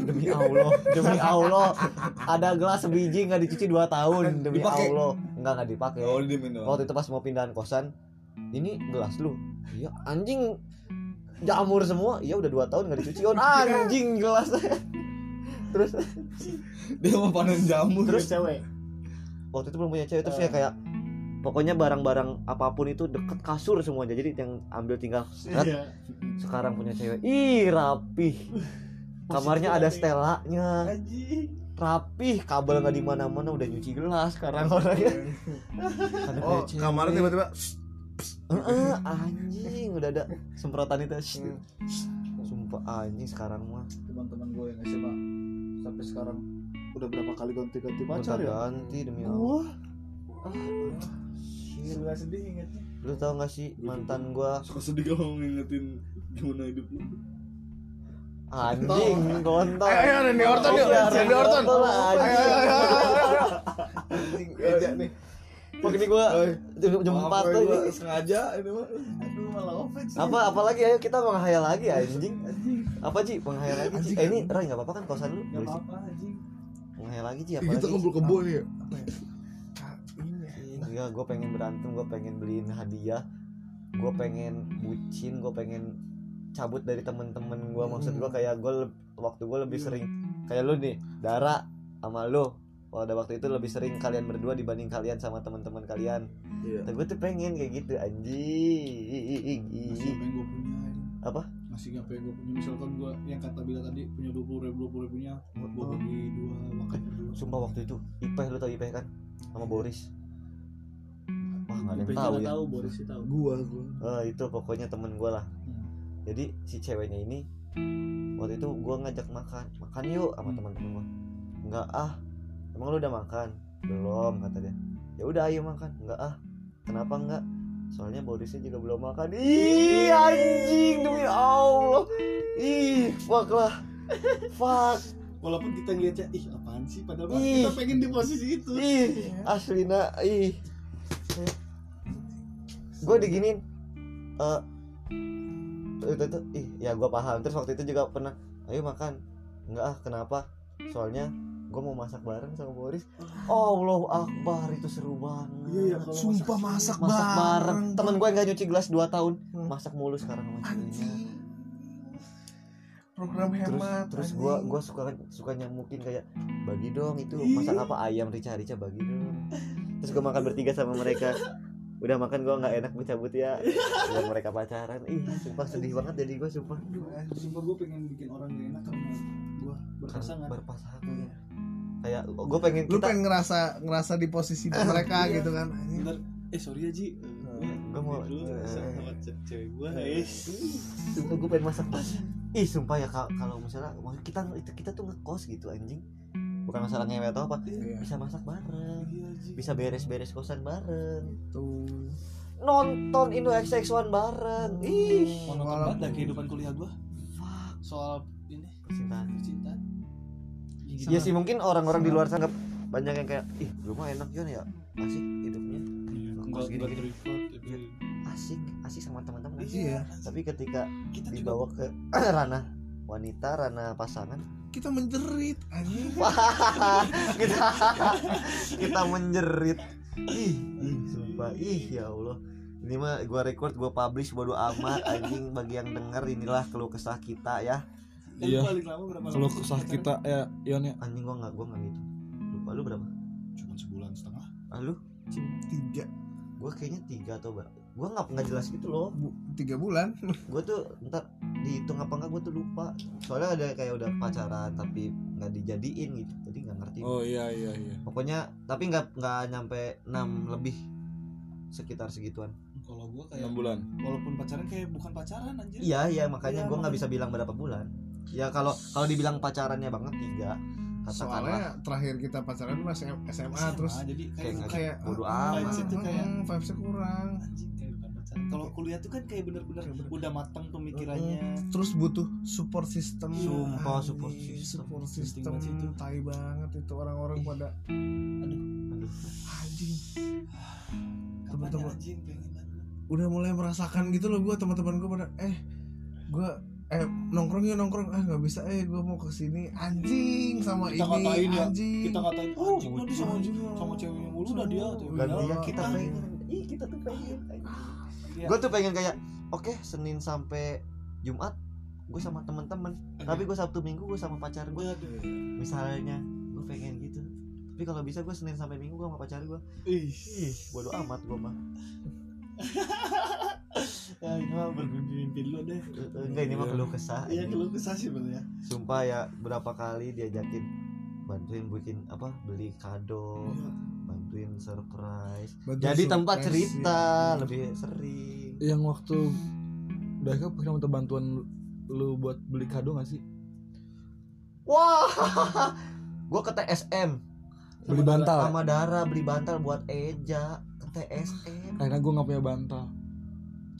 S1: demi Allah demi Allah ada gelas sebiji nggak dicuci 2 tahun demi
S5: Dipakai.
S1: Allah nggak nggak dipakai
S5: oh dia minum
S1: waktu itu pas mau pindahan kosan ini gelas lu iya anjing jamur semua iya udah 2 tahun nggak dicuci on anjing gelas terus
S5: dia mau panen jamu
S1: Terus
S4: cewek
S1: waktu itu belum punya cewek terus ya kayak pokoknya barang-barang apapun itu deket kasur semuanya jadi yang ambil tinggal serat.
S4: iya
S1: sekarang punya cewek ih rapih kamarnya ada stelanya
S4: anjing
S1: rapih kabel nggak di mana-mana udah nyuci gelas sekarang orangnya Karena punya
S6: Iya. oh
S1: cewek.
S6: kamarnya tiba-tiba "Shh,
S1: Heeh, anjing udah ada semprotan itu Shh, shh.
S6: Hmm.
S1: sumpah anjing sekarang mah
S4: teman-teman gue yang SMA sampai sekarang udah berapa kali ganti-ganti pacar
S1: Gonta
S4: ya
S1: ganti demi Allah
S4: wah
S1: Shit.
S4: gila sedih ingetnya
S1: lu tau gak sih mantan gua
S5: suka sedih kalau ngingetin gimana hidup lu
S1: anjing kontol
S6: ayo ayo Randy Orton yuk
S1: Iya,
S6: Randy Orton
S1: Orton lah,
S6: ayo
S1: anjing.
S6: ayo ayo ayo, ayo. Anjing, eja nih
S1: Makanya gua jam- jam empat tuh ini.
S5: sengaja ini mah
S2: Iya,
S4: aduh malah offense
S1: Apa apalagi ayo kita menghayal lagi anjing.
S3: ya,
S1: Apa Ci? Menghayal lagi Ci. Eh ini Ray enggak apa-apa kan kosan lu?
S4: Gak apa-apa anjing
S1: Menghayal lagi Ci
S5: Ih,
S1: apalagi.
S5: kita
S1: Ci?
S5: ngobrol kebo nih ya
S1: Iya, gua pengen berantem, gua pengen beliin hadiah. Gua pengen bucin, gua pengen cabut dari temen-temen gua maksud gua kayak gua leb- waktu gua lebih sering kayak lu nih, Dara sama lu pada waktu itu lebih sering kalian berdua dibanding kalian sama teman-teman kalian.
S5: Iya.
S1: Tapi gue tuh pengen kayak gitu anjing.
S3: Masih apa yang gue punya ini.
S1: Apa?
S3: Masih apa yang gue punya Misalkan gue yang kata bila tadi punya 20 ribu 20 ribunya Gue bagi dua makan berdua
S1: Sumpah waktu itu Ipeh lu tau Ipeh kan sama Boris. Wah nggak ada yang tahu ya.
S4: tahu Boris sih tahu
S5: gua gua
S1: Eh, itu pokoknya temen gue lah. Jadi si ceweknya ini waktu itu gue ngajak makan, makan yuk sama teman-teman gue. Enggak ah, emang lu udah makan? Belum kata dia. Ya udah ayo makan. Enggak ah, kenapa enggak? Soalnya Borisnya juga belum makan. Ih anjing demi Allah. Ih fuck lah. Fuck.
S3: Walaupun kita ngeliatnya Ih apaan sih Padahal mah
S1: Ih.
S3: kita pengen di posisi itu
S4: Iya,
S1: ih Aslina ih gue diginin eh itu tuh ih ya gue paham terus waktu itu juga pernah ayo makan enggak ah kenapa soalnya gue mau masak bareng sama Boris Allah Akbar itu seru banget
S3: Iya ya kalau
S5: sumpah masak
S1: masak bareng temen gue nggak nyuci gelas 2 tahun
S3: Hmm.
S1: masak mulu sekarang sama ceweknya
S6: program
S1: terus
S6: hemat
S1: terus gua gua suka suka nyamukin kayak bagi dong itu masak apa ayam rica rica bagi dong terus gua makan bertiga sama mereka udah makan gua nggak enak gua cabut ya Biar mereka pacaran ih sumpah sedih banget jadi gua sumpah
S3: Aduh, Sumpah gue pengen bikin orang gak enak karena gue berpasangan
S1: berpasangan ya. kayak gua pengen kita Eh,
S6: lu
S1: iya.
S6: pengen ngerasa ngerasa di posisi mereka gitu kan anjing.
S3: Bentar, eh sorry ya Ji Gue
S1: Gua mau-
S3: dulu
S1: eh.
S3: sama ce- cewek gue
S4: ya.
S1: sumpah gua pengen masak ih sumpah ya Kak, kalau misalnya maksud kita kita tuh ngekos gitu anjing bukan masalah ngewe atau apa
S5: Iya.
S1: bisa masak bareng
S4: Iya, Ji.
S1: bisa beres-beres kosan bareng
S5: tuh
S1: nonton Indo XX1 bareng ih
S4: Monoton banget dah kehidupan kuliah gua soal ini
S1: cinta
S4: percintaan
S1: ya sih mungkin orang-orang di luar sana banyak yang kayak ih lu mah enak Jon ya asik hidupnya
S3: Enggak
S1: Ngekos gini,
S3: enggak
S1: gini.
S3: terlibat tapi
S1: asik asik sama teman-teman asik.
S6: Iya.
S1: tapi ketika
S4: kita juga
S1: dibawa ke ranah wanita ranah pasangan
S6: Kita menjerit anjing.
S1: Wah, kita kita menjerit ih ih sumpah ih ya Allah ini mah gua record gua publish bodo amat anjing bagi yang denger inilah keluh kesah kita ya
S2: Iya.
S4: Eh, paling lama berapa
S2: Kalau
S4: lama?
S2: kesah kita ya Yon ya
S1: anjing gua nggak gua nggak gitu lupa lu berapa
S3: cuma sebulan setengah.
S1: ah lu
S6: Tiga
S1: gua kayaknya tiga atau berapa gua nggak nggak jelas gitu loh
S6: bu- tiga bulan.
S1: gua tuh ntar dihitung apa nggak gua tuh lupa soalnya ada kayak udah pacaran tapi nggak dijadiin gitu jadi nggak ngerti
S2: Oh iya iya iya
S1: pokoknya tapi nggak nggak nyampe 6 lebih sekitar segituan
S4: kalau gua kayak
S2: 6 bulan
S4: walaupun pacaran kayak bukan pacaran anjir
S1: iya iya makanya
S4: Iya,
S1: gua nggak bisa bilang berapa bulan ya kalau kalau dibilang pacarannya banget tiga katakanlah
S6: Soalnya terakhir kita pacaran dulu SMA, SMA terus
S4: jadi kayak
S1: kayak iya, nggak
S6: kayak
S1: bodo
S6: ah,
S1: amat.
S6: vibes-nya tuh kayak
S4: Mm,
S6: vibes-nya kurang.
S4: anjing kayak bukan pacaran kalau kuliah tuh kan kayak bener-bener udah matang pemikirannya
S6: Terus butuh support system.
S1: Sumpah,
S6: Anjing,
S1: support system.
S6: Support
S4: Penting
S6: system
S4: banget itu.
S6: itu tai banget itu orang-orang
S4: Ih.
S6: pada
S1: aduh
S6: anjing
S4: kapan ya,
S6: Teman-teman.
S4: anjing pengen banget.
S6: udah mulai merasakan gitu loh gue teman-teman gue pada eh gue eh nongkrong ya nongkrong ah nggak bisa eh gue mau ke sini anjing sama
S3: Kita
S6: ini
S3: katain ya,
S6: anjing
S3: Kita katain, "Oh, anjing
S6: Anjing,
S3: tadi sama
S6: anjing,
S3: sama ceweknya mulu udah dia tuh."
S1: dan
S6: Iya,
S1: dia kita
S6: anjing.
S1: pengen ih kita tuh pengen
S4: gitu, Iya.
S1: gue tuh pengen kayak oke senin sampai jumat gue sama temen-temen tapi gue sabtu minggu gue sama pacar gue misalnya gue pengen gitu tapi kalau bisa gue senin sampai minggu gue sama pacar Eh. gue
S4: Iya. Ih,
S1: ih bodo amat gue mah
S4: ya ini mah berbunyi mimpi lu deh.
S1: Eh, eh, enggak ini mah keluh kesah
S4: Iya,
S1: anjing.
S4: kalau kesah sih bener ya.
S1: sumpah ya berapa kali diajakin bantuin bikin apa beli kado bantuin surprise
S6: Bantu
S1: jadi tempat
S6: surprise,
S1: cerita
S6: ya.
S1: lebih sering
S2: Yang waktu Mereka pernah minta bantuan lu buat beli kado gak sih?
S1: wah gue ke TSM
S2: Beli bantal
S1: sama Dara beli bantal buat Eja kan ke TSM
S2: Karena gue gak punya bantal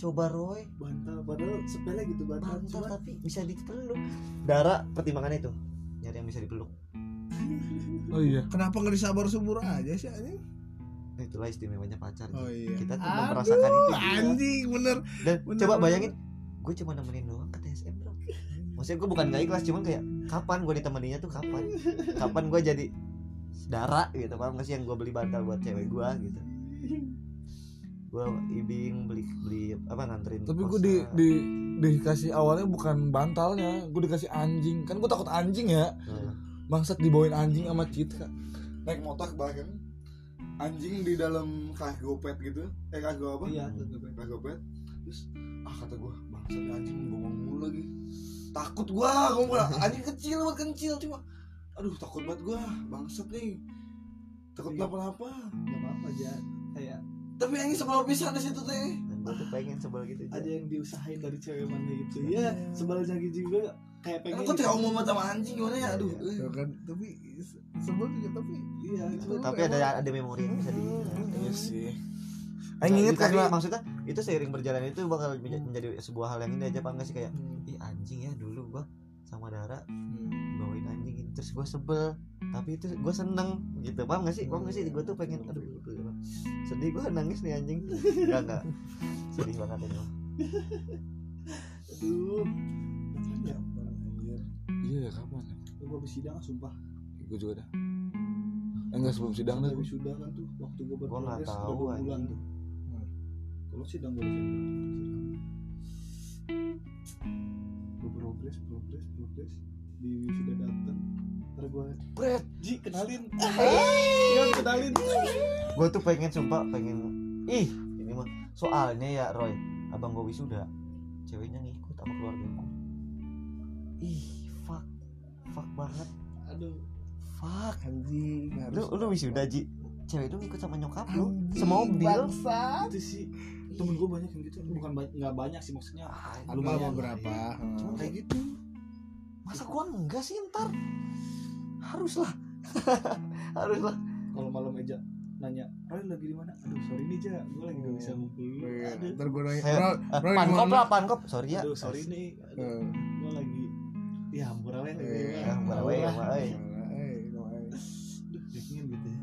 S1: coba Roy
S4: Bantal padahal sepele gitu bantal.
S1: bantal
S4: Cuma
S1: tapi bisa dipeluk Dara pertimbangannya itu nyari yang bisa dipeluk
S2: Oh iya
S6: kenapa nggak disabar subur aja sih anjing
S1: Nah, itulah istimewanya pacar
S6: oh iya
S1: kita tuh
S6: Aduh,
S1: merasakan itu
S6: anjing bener
S1: dan
S6: bener,
S1: coba
S6: bener.
S1: bayangin gue cuma nemenin doang ke TSM bro maksudnya gue bukan gak ikhlas cuman kayak kapan gue ditemaninya tuh kapan kapan gue jadi darah gitu paham gak sih yang gue beli bantal buat cewek gue gitu gue ibing beli beli apa nganterin
S2: Tapi gue
S1: kosan.
S2: di, di dikasih awalnya bukan bantalnya Gue dikasih anjing Kan gue takut anjing ya
S1: Nah,
S2: Bangsat dibawain anjing sama Citra
S5: naik motor bahkan anjing di dalam kagopet gitu eh kagopet apa
S4: Iya, tuh, tuh,
S5: naik gopet terus ah kata gua bangsa nih anjing ngomong mulu lagi takut gua gua mulai anjing kecil banget kecil cuma aduh takut banget gua bangsat nih takut
S4: Iya.
S5: kenapa-napa
S4: enggak apa-apa aja. Kayak
S5: tapi anjing sebelum pisan di situ teh
S1: dan gue tuh pengen sebel gitu aja
S4: ada yang diusahain dari cewek mana gitu. Iya, sebel lagi juga kayak pengen.
S5: aku tidak mau ya, sama anjing gimana ya aduh eh.
S6: Tuh kan tapi se- sebel juga tapi ya.
S4: Iya, cuma
S1: tapi ada ya. ada memori yang bisa ya. diingat
S2: Iya sih
S1: Nah,
S6: Aing inget
S1: itu tadi
S6: karena
S1: Hmm. maksudnya itu seiring berjalan itu bakal menja- menjadi sebuah hal yang ini aja paham gak sih kayak ih anjing ya dulu gua sama Dara bawain anjing gitu terus gua sebel tapi itu gua seneng gitu paham gak sih paham gak sih gua tuh pengen aduh aduh, aduh. sedih gua nangis nih anjing enggak enggak sedih banget ini mah.
S4: aduh. Kapan ya?
S2: Iya kapan ya?
S4: Gua habis sidang sumpah.
S2: Gue juga dah Eh, Enggak sebelum sidang deh
S4: Habis sidang kan tuh waktu
S1: gua
S4: gua
S1: nggak
S4: berprogres udah
S1: tahu
S4: dua bulan
S1: anjing
S4: tuh. Nah, Kalau sidang gua sidang. Gua progres, progres, progres. Di sudah datang. Ntar gua
S1: Bret.
S4: Ji kenalin. Yon kenalin.
S1: gua tuh pengen sumpah pengen ih ini mah soalnya ya Roy abang gua wisuda ceweknya ngikut sama keluarga gua ih fuck fuck banget
S4: Aduh.
S1: fuck
S6: anjing
S1: lu
S6: harus
S1: lu wisuda Ji cewek lu ngikut sama nyokap lu semobil
S6: bangsa
S4: Itu gitu sih temen gua banyak yang gitu. Bukan ba- nggak banyak sih maksudnya.
S1: Ah,
S6: lu mau
S4: Lumayan.
S6: berapa
S1: Cuma kayak
S6: gitu
S1: masa gua enggak sih ntar haruslah haruslah
S4: kalau malam aja nanya Roy lagi di mana aduh sorry nih ja gue lagi gak bisa ngumpul lu aduh,
S6: Iya, Ntar gue nanya,
S1: Saya-
S6: bro,
S1: Eh,
S6: bro
S1: pankop
S6: gimana?
S1: lah pankop sorry ya
S4: aduh sorry nih
S1: Iya,
S6: Eh,
S4: gue lagi ya iya. hampir aja
S6: Iya.
S4: lagi
S1: Ya, hampir aja,
S4: Alah,
S1: hampir aja.
S6: gimana, eh, gimana, eh.
S4: aduh dingin gitu ya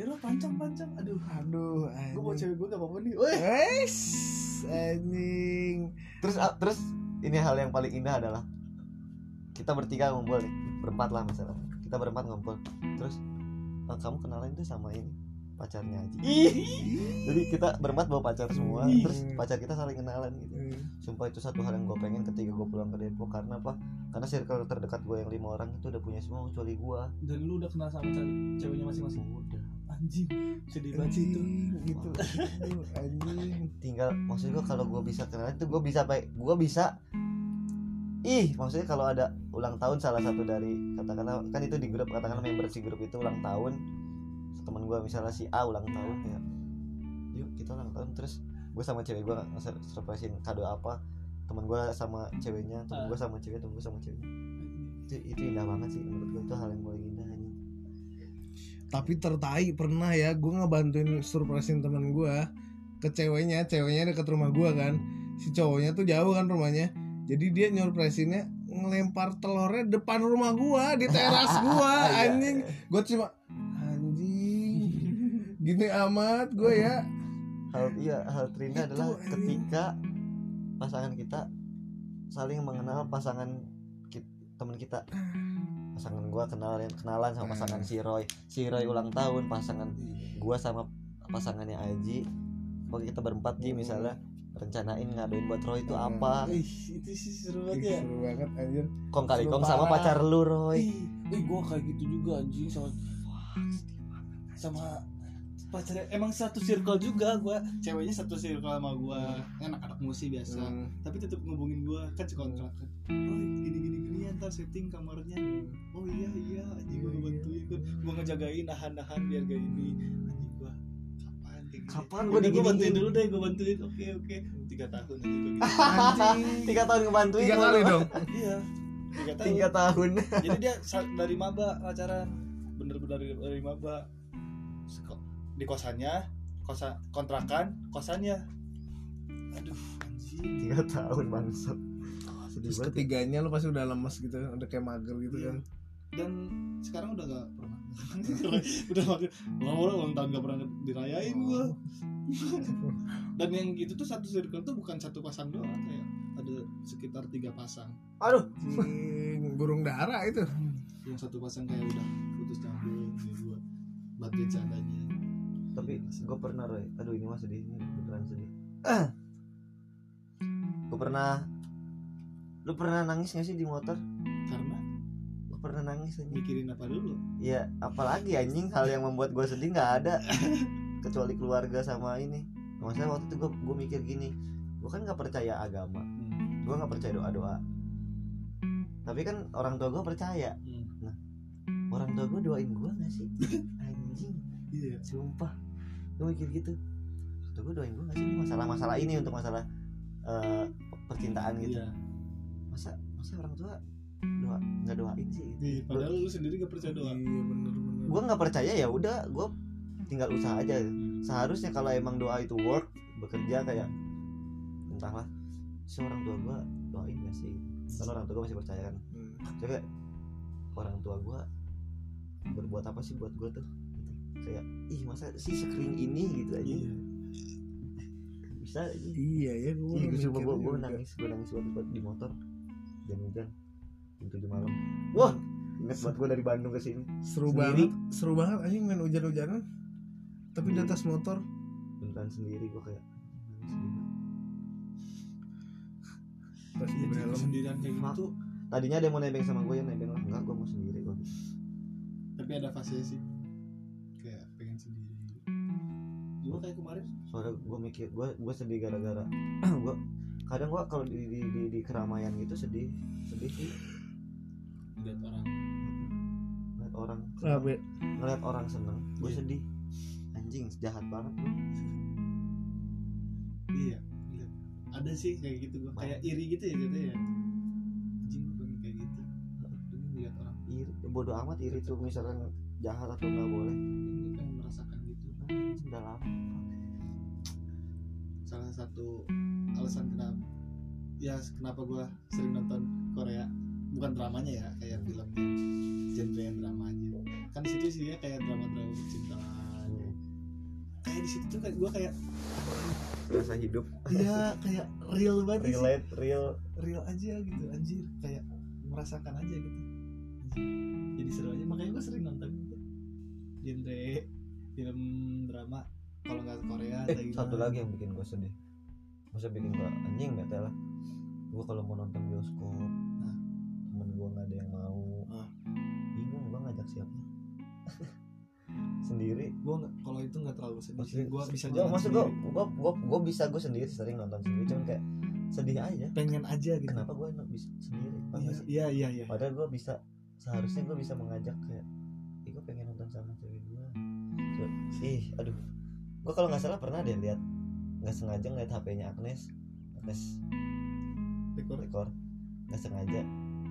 S4: eh lo pancam pancam aduh
S6: Aduh,
S4: gue mau
S6: anjing.
S4: cewek gue gak apa-apa nih weh
S6: Wes, anjing.
S1: terus ah, terus ini hal yang paling indah adalah kita bertiga ngumpul nih berempat lah misalnya kita berempat ngumpul terus "Eh, kamu kenalan tuh sama ini pacarnya aja jadi kita berempat bawa pacar semua
S6: Ih.
S1: terus pacar kita saling kenalan gitu
S6: Eh,
S1: sumpah itu satu hal yang gue pengen ketika gue pulang ke Depok karena apa karena circle terdekat gue yang lima orang itu udah punya semua kecuali gue
S4: dan lu udah kenal sama cewek- ceweknya masing-masing
S1: udah
S4: anjing sedih banget
S6: Anjing,
S4: itu
S6: gitu. Aduh, anjing.
S1: tinggal maksud gue kalau gue bisa kenalan itu gue bisa baik gue bisa ih maksudnya kalau ada ulang tahun salah satu dari katakanlah kan itu di grup katakanlah member si grup itu ulang tahun teman gue misalnya si A ulang tahun ya yuk kita ulang tahun terus gue sama cewek gue nge- surprisein kado apa teman gue sama ceweknya teman gue sama cewek teman gue sama ceweknya itu, itu indah banget sih menurut gue itu hal yang paling indah anjing.
S6: Tapi tertai pernah ya, gue ngebantuin surprisein teman gue ke ceweknya, ceweknya deket rumah gue kan. Si cowoknya tuh jauh kan rumahnya. Jadi dia nyurpresinnya ngelempar telurnya depan rumah gua di teras gua
S1: Iya.
S6: Ah, anjing gue cuma anjing gini amat gue ya
S1: hal iya hal terindah
S6: Itu,
S1: adalah
S6: anjing.
S1: ketika pasangan kita saling mengenal pasangan ki- teman kita pasangan gua kenal kenalan sama pasangan si Roy si Roy ulang tahun pasangan gua sama pasangannya Aji bagi kita berempat Ji misalnya rencanain ngaduin buat Roy itu
S6: Hmm.
S1: apa
S4: ih itu sih seru
S6: Ih,
S4: banget ya
S6: seru banget anjir
S1: kong kali
S6: Seru
S1: kong sama
S6: parah.
S1: pacar lu Roy
S4: ih ih gue kayak gitu juga anjing sama sama pacarnya emang satu circle juga gue
S3: ceweknya satu circle sama gue anak-anak musik biasa tapi tetap ngubungin gue kan suka
S1: Iya.
S3: kontrakan Roy gini gini gini ya, ntar setting kamarnya oh iya iya anjing gue ngebantuin gue gue ngejagain nahan nahan biar gak ini anjing gue kapan kayak gini?
S1: kapan
S3: Udah,
S1: gua
S3: gue bantuin
S1: diginiin
S3: dulu deh gue bantuin oke oke tiga tahun aja gue
S1: Ah,
S3: gitu
S1: tiga tahun ngebantuin
S6: tiga
S1: lu.
S6: kali dong
S3: iya tiga tahun
S1: tiga tahun
S3: jadi dia sa- dari maba pacaran bener-bener dari, dari maba Seko- di kosannya kosa kontrakan kosannya aduh anjing
S1: tiga tahun bangsat sedih
S6: terus
S1: banget
S6: ketiganya lu pasti udah lemes gitu udah kayak mager gitu
S4: Iya.
S3: Iya.
S6: kan
S3: dan sekarang udah gak pernah udah makin orang-orang ulang tahun gak pernah dirayain gua dan yang gitu tuh satu circle tuh bukan satu pasang doang kayak ada sekitar tiga pasang
S1: aduh
S6: Anjing, burung dara itu
S3: yang satu pasang kayak udah putus nyambung kayak gua bantuin seadanya
S1: tapi gue pernah Roy aduh ini mah sedih ini beneran sedih gue pernah lu pernah nangis gak sih di motor
S3: karena
S1: gue pernah nangis anjing
S3: mikirin apa dulu
S1: ya apalagi anjing hal yang membuat gue sedih nggak ada kecuali keluarga sama ini maksudnya waktu itu gue mikir gini gue kan nggak percaya agama
S3: Hmm.
S1: gue nggak percaya doa doa tapi kan orang tua gue percaya
S3: Hmm.
S1: nah orang tua gue doain gue nggak sih anjing
S3: iya
S1: sumpah gue mikir gitu tuh gue doain gue gak sih masalah-masalah ini untuk masalah eh, percintaan gitu
S3: iya
S1: masa masa orang tua doa nggak doain sih
S3: Iya, padahal lu sendiri gak percaya doa
S6: iya bener bener
S1: gue nggak percaya ya udah gue tinggal usaha aja seharusnya kalau emang doa itu work bekerja kayak entahlah si orang tua gue doain gak sih karena orang tua gue masih percaya kan
S6: Hmm.
S1: Jadi kayak orang tua gue berbuat apa sih buat gue tuh kayak ih masa sih sekering ini gitu aja
S3: Iya.
S1: bisa aja
S6: iya ya gue
S1: Ih, gue coba gue gue nangis gue nangis buat buat di motor jam hujan jam tujuh malam wah inget buat gue dari Bandung ke sini
S6: seru
S1: Sendiri.
S6: banget seru banget anjing main hujan-hujanan tapi di atas motor
S1: beneran sendiri gue kayak nangis gitu.
S6: pas
S3: Iya,
S6: di helm
S3: sendirian kayak gitu tuh,
S1: tadinya ada yang mau nebeng sama gue ya nebeng lah enggak gue mau sendiri gue
S3: tapi ada fase sih kayak pengen sendiri gua kayak kemarin
S1: soalnya gue mikir gue gue sedih gara-gara gue kadang gue kalau di, di, di, di keramaian gitu sedih sedih sih
S3: ngeliat orang
S1: ngeliat orang
S6: Rame.
S1: ngeliat orang seneng gue sedih anjing jahat banget gue
S3: iya ngeliat. ada sih kayak gitu gua kayak iri gitu ya jatuhnya ya anjing gua pengen kayak gitu pengen ngeliat orang
S1: iri bodo amat iri tuh misalkan jahat atau nggak boleh
S4: gue pengen merasakan gitu
S1: udah lama
S4: salah satu alasan kenapa ya kenapa gue sering nonton Korea bukan dramanya ya kayak filmnya genre yang drama aja kan di situ sih ya kayak drama drama cintaan kayak di situ tuh kayak gue kayak
S1: rasa hidup Iya.
S4: ya kayak real banget sih.
S1: relate real
S4: real aja gitu anjir kayak merasakan aja gitu Anjir. jadi seru aja makanya gue sering nonton gitu. genre film drama kalau nggak Korea atau
S1: eh
S4: gimana.
S1: satu lagi yang bikin gue sedih masa bikin gue anjing nggak tau lah gue kalau mau nonton bioskop
S4: Nah.
S1: temen gue nggak ada yang mau
S4: Ah.
S1: bingung gue ngajak siapa sendiri
S4: gue nggak kalau itu nggak terlalu sedih sih. gue bisa
S1: gue
S4: jalan
S1: Oh, maksud gue
S4: sendiri
S1: gue gue gue bisa gue sendiri sering nonton sendiri cuman kayak sedih aja
S4: pengen aja gitu
S1: kenapa gue bisa sendiri Paham
S4: Iya,
S1: gak sih?
S4: iya iya iya
S1: padahal gue bisa seharusnya gue bisa mengajak kayak ih gue pengen nonton sama cewek gue ih aduh gue kalau nggak salah pernah deh lihat nggak sengaja ngeliat HP-nya Agnes Agnes
S4: Dekor.
S1: record nggak sengaja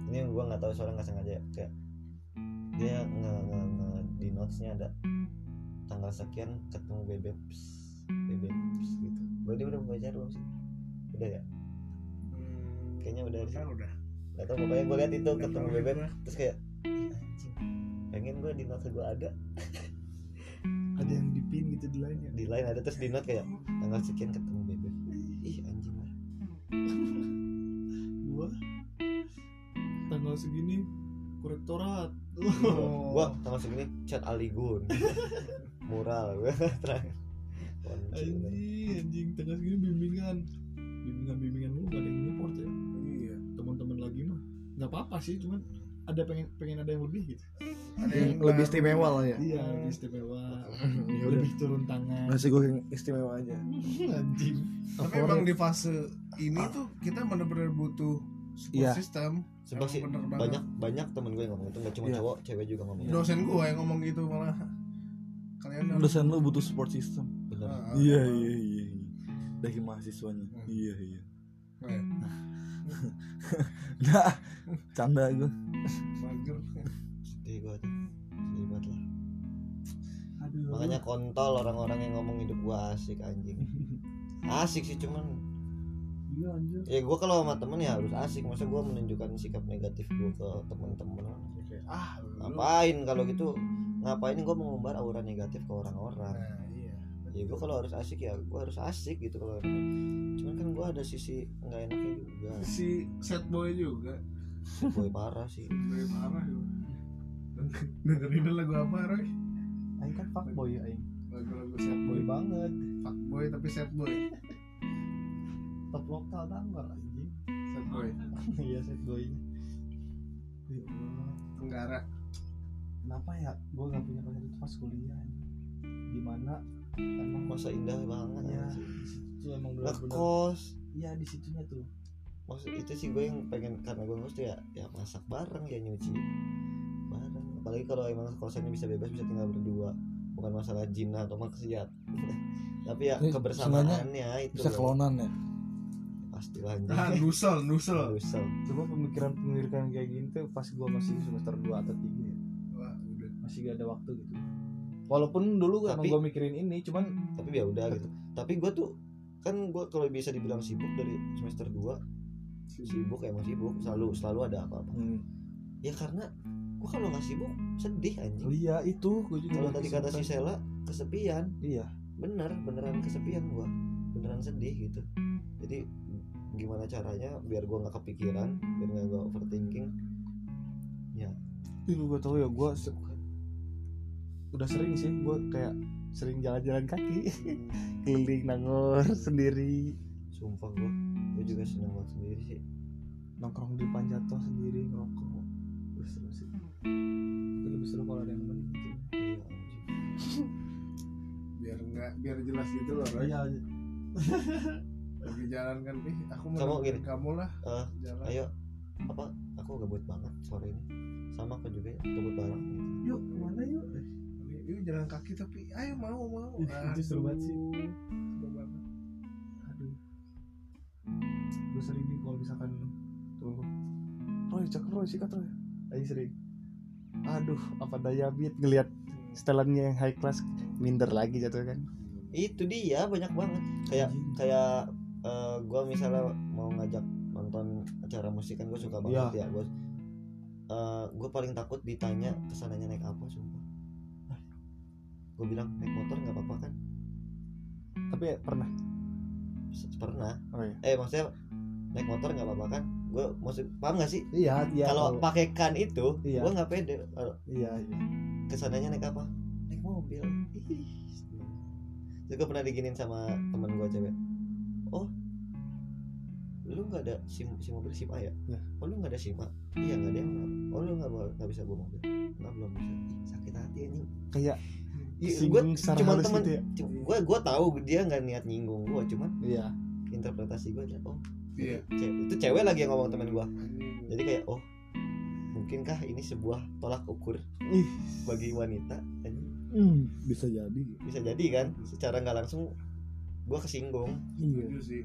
S1: ini gue nggak tahu soalnya nggak sengaja kayak dia nge, nge, nge- di notesnya ada tanggal sekian ketemu bebek bebek gitu berarti udah membaca belum sih udah ya kayaknya udah sih.
S6: kan udah
S1: Gak tau pokoknya gue liat itu
S6: Udah
S1: ketemu
S6: tahu
S1: bebek
S6: gua.
S1: Terus kayak "Ih, anjing Pengen gue di note gue ada
S4: ada yang dipin gitu di lainnya
S1: Di lain ada terus di note kayak Tanggal sekian ketemu bebek Ih anjing lah
S4: gue tanggal segini korektorat
S6: Oh.
S1: Gue tanggal segini chat Aligun Mural gue terakhir Anjing, bener.
S4: anjing anjing tengah segini bimbingan bimbingan bimbingan lu gak ada yang report ya
S7: iya
S4: teman-teman lagi mah nggak apa-apa sih cuman ada pengen pengen ada yang lebih gitu
S7: ada
S6: yang lebih istimewa lah ya
S4: iya lebih istimewa
S5: Hmm,
S6: ya
S5: Iya.
S6: udah
S4: lebih turun tangan
S5: Masih gue yang istimewa aja.
S4: anjing
S6: tapi emang
S4: ya?
S6: di fase ini tuh kita bener-bener butuh support
S5: Iya.
S6: system
S1: Sumpah
S6: Emang
S1: sih
S6: bener banget.
S1: banyak banyak temen gue yang ngomong itu Gak cuma
S5: Iya.
S1: cowok, cewek juga ngomong
S6: dosen gua yang ngomong gitu malah kalian harus
S5: Dosen lu butuh support system.
S1: Bener
S6: Ah,
S5: Iya iya iya. iya. Dari mahasiswanya. Iya iya.
S6: eh,
S5: Nah, canda gue.
S6: mager.
S1: Sedih gue tuh Sedih banget lah
S4: aduh
S1: Makanya kontol orang-orang yang ngomong hidup gue asik anjing Asik sih cuman
S4: iya anjir
S1: ya gue kalau sama temen ya harus asik masa gue menunjukkan sikap negatif gue ke temen-temen
S7: ah
S1: ngapain kalau gitu ngapain gue mengumbar aura negatif ke orang-orang
S6: nah iya
S1: ya gue kalau harus asik ya gue harus asik gitu kalau cuman kan gue ada sisi nggak enaknya juga
S6: si set boy juga
S1: boy parah sih
S6: boy parah juga dengerin lagu apa Roy
S5: Aing kan fuckboy aing.
S6: lagu-lagu set boy
S5: banget.
S6: fuck boy tapi set boy
S5: Top lokal tanggal anjing.
S6: set boy
S5: Iya set boy. Ya
S6: tenggara
S5: Kenapa ya gue gak punya pacar itu pas kuliah? Dimana emang
S1: masa indah banget
S5: Iya.
S1: ya
S5: itu emang benar-benar
S1: ngekos
S5: iya di situnya tuh
S1: maksud itu sih gue yang pengen karena gue ngekos tuh ya ya masak bareng ya nyuci bareng apalagi kalau emang kosannya bisa bebas bisa tinggal berdua bukan masalah jinah atau maksiat tapi ya
S5: Ini
S1: kebersamaannya itu loh.
S5: bisa klonan ya
S1: pastilah anjing
S6: ah dusel dusel
S1: Nyesel.
S5: coba pemikiran pemikiran kayak gini tuh pas gua masih semester 2 atau 3 ya
S6: wah udah
S5: masih gak ada waktu gitu walaupun dulu
S1: Tapi-
S5: emang gue mikirin ini cuman
S1: tapi ya udah gitu tapi gue tuh kan gue kalau bisa dibilang sibuk dari semester 2 sibuk emang sibuk selalu selalu ada apa-apa
S5: Hmm.
S1: ya karena gue kalau nggak sibuk sedih
S5: Oh
S1: anjing
S5: iya itu gue juga
S1: kalau tadi
S5: lagi
S1: kata si
S5: sempat.
S1: Sela kesepian
S5: iya
S1: bener beneran kesepian gue beneran sedih gitu jadi gimana caranya biar gue nggak kepikiran biar nggak gue overthinking
S5: dulu gue tau ya gue udah sering sih gue kayak sering jalan-jalan kaki keliling nangor sendiri
S1: sumpah gue gue juga seneng banget sendiri
S5: Iya,
S1: sih
S5: nongkrong di panjatoh sendiri ngerokok Wih, seru sih tapi lebih seru kalau ada yang nemenin gitu.
S1: iya anjing
S6: biar nggak biar jelas gitu loh Roy
S5: iya
S6: lagi jalan kan ih aku mau
S1: Kamu
S6: nemenin
S1: gini.
S6: kamu lah
S1: Eh,
S6: jalan
S1: ayo apa aku gabut banget sore ini sama aku juga ya, gabut bareng
S5: Iya.
S6: yuk kemana yuk yuk jalan kaki tapi ayo mau mau Ah,
S4: itu seru banget sih
S6: Seru banget.
S4: aduh gue sering nih kalau misalkan tuh
S5: Roy cek Roy sikat Roy ayo sering
S2: aduh apa daya bit ngelihat setelannya yang high class minder lagi jatuh kan
S1: itu dia banyak banget kayak kayak eh, gua misalnya mau ngajak nonton acara musik kan gue suka banget
S2: Iya.
S1: ya gue gue paling takut ditanya kesananya naik apa sumpah gue bilang naik motor nggak apa-apa kan
S2: tapi ya, pernah
S1: Se- pernah
S2: oh iya
S1: eh maksudnya naik motor nggak apa-apa kan gue maksud paham gak sih
S2: iya iya
S1: kalau
S2: tahu.
S1: pakai kan itu
S2: Iya.
S1: gua nggak pede Eh,
S2: iya iya
S1: kesananya naik apa naik mobil terus gue pernah diginin sama temen gue cewek oh lu nggak ada sim sim mobil sim A ya
S2: Ya.
S1: oh lu nggak ada sim A iya nggak ada yang oh lu nggak bawa- nggak bisa bawa mobil nggak belum bisa Ih, sakit hati ini
S2: kayak
S1: gue
S2: singgung secara
S1: Iya, cuman
S2: halus
S1: temen
S2: gitu ya
S1: gue gue tahu dia nggak niat nyinggung gue cuman
S2: iya
S1: interpretasi gue adalah oh
S5: Iya.
S1: ce- itu cewek lagi yang ngomong temen gue
S2: Hmm.
S5: Anjing.
S1: jadi kayak oh mungkinkah ini sebuah tolak ukur
S2: ih
S1: bagi wanita Anjing,
S6: hmm, bisa jadi
S1: bisa jadi kan secara nggak langsung gue kesinggung
S6: iya
S5: Setuju sih.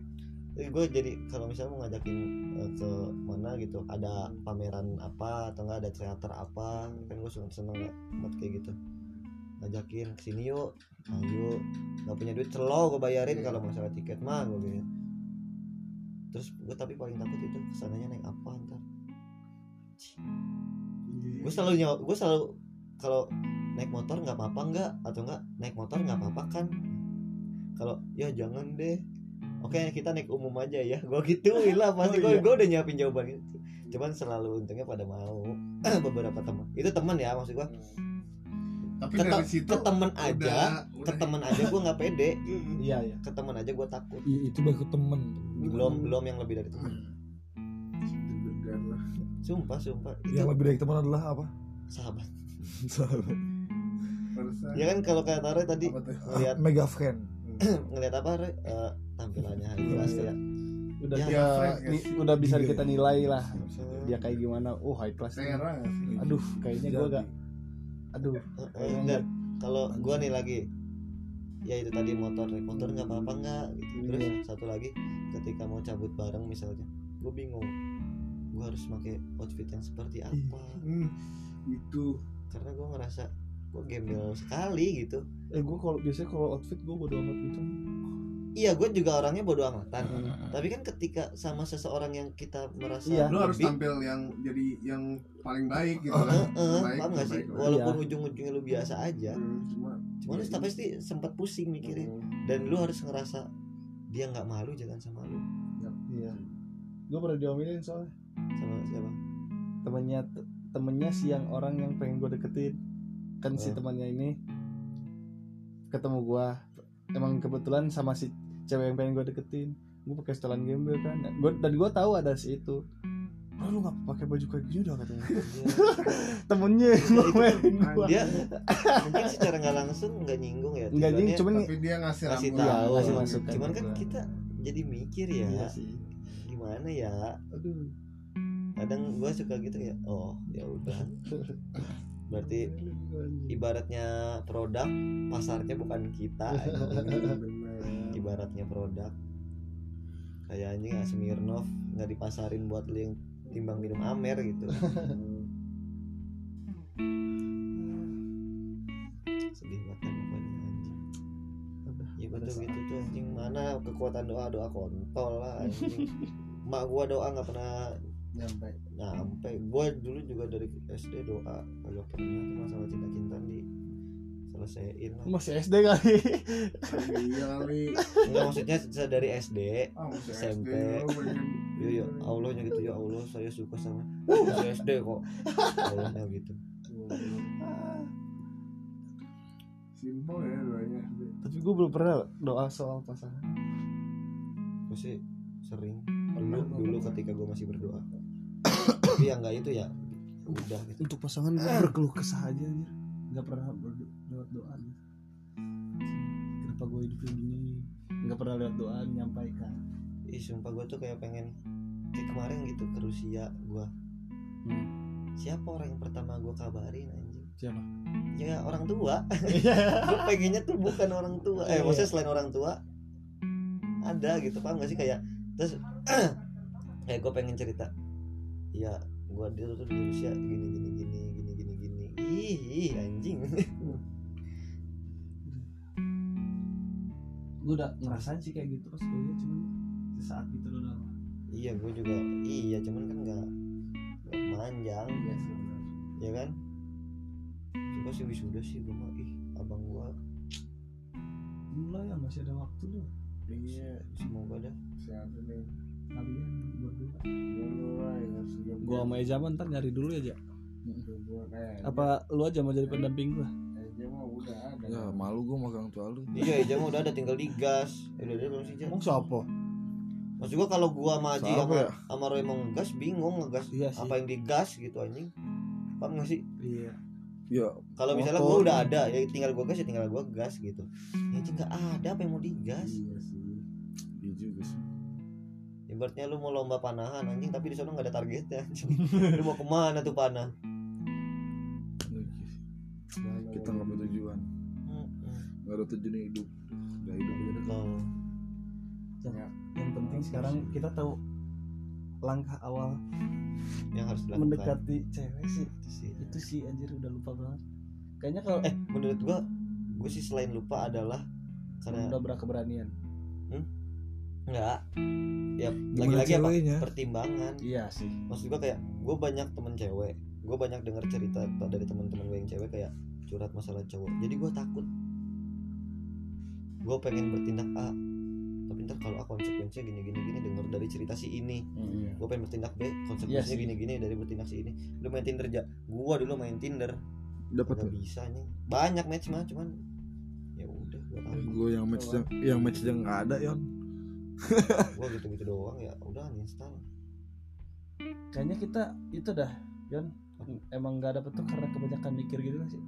S1: gue jadi kalau misalnya mau ngajakin eh, ke mana gitu ada pameran apa atau enggak ada teater apa kan gue seneng seneng ya buat kayak gitu ngajakin kesini yuk ayo nggak punya duit celo gue bayarin kalau masalah tiket mah gue bilang terus gue tapi paling takut itu kesananya naik apa ntar
S5: Iya.
S1: gue selalu nyawa gue selalu kalau naik motor nggak apa-apa nggak atau nggak naik motor nggak apa-apa kan kalau ya jangan deh oke kita naik umum aja ya gue gituin lah
S5: Oh
S1: pasti
S5: iya.
S1: gue udah nyiapin jawaban itu cuman selalu untungnya pada mau beberapa teman itu teman ya maksud gue
S5: Tapi
S1: ke,
S5: dari
S1: te-
S5: situ
S1: ke teman
S5: udah-
S1: aja
S5: udah-
S6: ya.
S1: ke teman aja gue nggak pede
S2: iya iya
S1: ke teman aja gue takut
S6: Iya, itu baru temen
S1: belum belum yang lebih dari teman
S5: Deg-degan lah.
S1: sumpah sumpah
S8: Yang
S1: itu
S5: Iya.
S8: lebih dari teman adalah apa?
S1: sahabat
S5: Barusan.
S1: ya kan kalau kayak Tare tadi
S5: Apa tuh?
S1: ngelihat
S8: Mega fan.
S1: ngelihat apa Re? Eh, tampilannya hari kelas ya
S2: udah
S1: Ya,
S2: kita
S5: friend, ya
S2: ni-
S5: sih.
S2: udah bisa
S6: Iya.
S2: kita nilai lah
S5: Iya.
S1: Bisa.
S2: dia kayak gimana oh high class nih.
S5: Serah
S6: ya?
S5: nggak sih?
S2: aduh kayaknya gue
S8: Jadi.
S2: gak aduh
S1: Eh, enggak kalau gua nih lagi ya itu tadi motor naik motor nggak apa-apa nggak gitu. terus satu lagi ketika mau cabut bareng misalnya gue bingung gue harus pakai outfit yang seperti apa
S5: Itu
S1: karena gue ngerasa gue gembel sekali gitu
S2: eh gue kalau biasanya kalau outfit gue bodo amat gitu
S1: iya gue juga orangnya bodo amatan tapi kan ketika sama seseorang yang kita merasa
S2: Iya.
S5: lu harus
S1: lebih,
S5: tampil yang jadi yang paling baik gitu kan.
S1: eh,
S5: Baik,
S1: paham gak sih
S5: terbaik lah.
S1: walaupun ujung-ujungnya lu biasa aja
S5: Hmm, Cuma
S1: cuman lu pasti sempat pusing mikirin dan lu harus ngerasa dia nggak malu jangan sama lu
S2: iya gue pernah diomelin soalnya
S1: sama siapa
S2: temennya temennya si yang orang yang pengen gue deketin kan si
S1: Hmm.
S6: Iya.
S2: temannya ini ketemu gue emang kebetulan sama si cewek yang pengen gue deketin gue pakai setelan gembel kan Gua- dan gue tahu ada si itu Oh, lu gak pakai baju kayak gini dah katanya
S6: Iya,
S2: temennya yang ngomongin gua.
S1: dia mungkin secara nggak langsung nggak nyinggung ya
S2: Enggak
S1: tujuannya
S2: jadi cuman
S5: tapi dia ngasih
S1: kasih
S5: rambu
S2: Iya,
S1: tahu
S2: ngasih masukan
S1: cuman kan
S2: juga.
S1: kita jadi mikir ya
S2: Iya sih.
S1: gimana ya
S2: Aduh.
S1: kadang gua suka gitu ya oh ya udah berarti ibaratnya produk pasarnya bukan kita anjing. ibaratnya produk kayak anjing ah, Smirnoff nggak dipasarin buat lu yang timbang minum amer gitu sedih banget kan pokoknya anjing ya betul gitu tuh anjing mana kekuatan doa doa kontol lah anjing mak gua doa nggak pernah
S2: Nyampe.
S1: nyampe gua dulu juga dari SD doa kagak pernah tuh masalah cinta cintaan di selesaiin lah
S2: Masih SD kali.
S5: iya kali
S1: nggak maksudnya se- dari SD
S5: ah masih
S1: SMP.
S5: SD lu pengen
S1: Iya, ya Allahnya gitu ya Allah saya suka sama Masih SD kok Allahnya gitu
S5: simpel ya doanya
S2: Tapi gue belum pernah doa soal pasangan.
S1: gue sih sering dulu dulu ketika gue masih berdoa tapi yang nggak itu ya udah gitu
S4: untuk pasangan gue berkeluh kesah aja anjir nggak pernah ber- lewat doa anjir. kenapa gue hidup kayak gini nggak pernah lewat doa nyampaikan
S1: ih sumpah gue tuh kayak pengen kayak kemarin gitu ke Rusia gue siapa orang yang pertama gue kabarin anjing
S4: Siapa?
S1: ya orang tua
S2: Iya.
S1: gue pengennya tuh bukan orang tua eh maksudnya selain orang tua ada gitu paham gak sih kayak terus kayak gue pengen cerita ya gue dulu tuh di Rusia gini gini gini gini gini gini Ih, ih, anjing.
S5: gue udah ngerasain sih kayak gitu pas kuliah cuman sesaat gitu loh doang
S1: iya, gue juga. Iya, cuman kan nggak nggak panjang,
S5: iya sih benar
S1: ya kan? Coba sih wisuda sih gue mah ih, abang gua
S5: mulai ya masih ada waktu loh
S6: Iya,
S1: semoga dah.
S6: siapa nih?
S5: kalian berdua
S6: Gue mulai harus juga
S2: Gua sama Eza mah ntar nyari dulu aja.
S6: Iya, Gua Iya, kayak
S2: Apa lu aja mau jadi pendamping gua?
S6: aja mah Oh, udah ada.
S5: ya malu gue magang tua lu
S1: Iya, Eja mah udah ada tinggal digas. Udah ada belum sih, Eja?
S9: Emang siapa?
S1: Maksud gua kalau gua sama Aji
S5: Siapa
S1: sama
S5: ya?
S1: sama Roy mau ngegas bingung ngegas
S2: Iya sih.
S1: apa yang digas gitu anjing. Paham gak sih?
S2: Iya.
S5: ya
S1: Kalau misalnya gua
S5: Motor.
S1: udah ada, ya tinggal gua gas ya tinggal gua gas gitu. Ya Ji, nggak ada apa yang mau digas.
S6: Iya sih.
S5: iya juga sih
S1: Ibaratnya lu mau lomba panahan anjing tapi di sana nggak ada targetnya anjing. lu mau kemana tuh panah?
S5: Iya sih. kita nggak punya tujuan
S1: Mm-mm.
S5: nggak ada tujuan hidup nggak hidup ya aja deh.
S1: Betul.
S2: Yang penting sekarang kita tahu langkah awal
S1: Yang harus dilakukan.
S2: mendekati cewek sih.
S1: Itu sih.
S2: Itu sih anjir udah lupa banget. Kayaknya kalau
S1: Eh, menurut gua gua sih selain lupa adalah karena
S2: udah berkeberanian.
S1: enggak ya
S9: Gimana
S1: lagi-lagi apa
S9: ceweknya?
S1: pertimbangan
S2: Iya sih.
S1: maksud gue kayak gue banyak temen cewek gue banyak dengar cerita t- dari teman-teman gue yang cewek kayak curhat masalah cowok jadi gue takut gue pengen bertindak A tapi ntar kalau A konsekuensinya gini gini gini dengar dari cerita si ini gue pengen bertindak B
S2: Oh, Iya
S1: konsekuensinya
S2: sih.
S1: gini gini dari bertindak si ini lu main Tinder ja gue dulu main Tinder
S5: dapat
S1: gak bisa nih banyak match mah cuman ya udah
S2: Iya,
S1: gue takut
S5: gue yang match yang yang match yang nggak ada yon
S1: gue gitu gitu doang ya udah uninstall
S2: Kayaknya kita itu dah, Yon. Emang gak dapet tuh karena kebanyakan mikir gitu gak sih?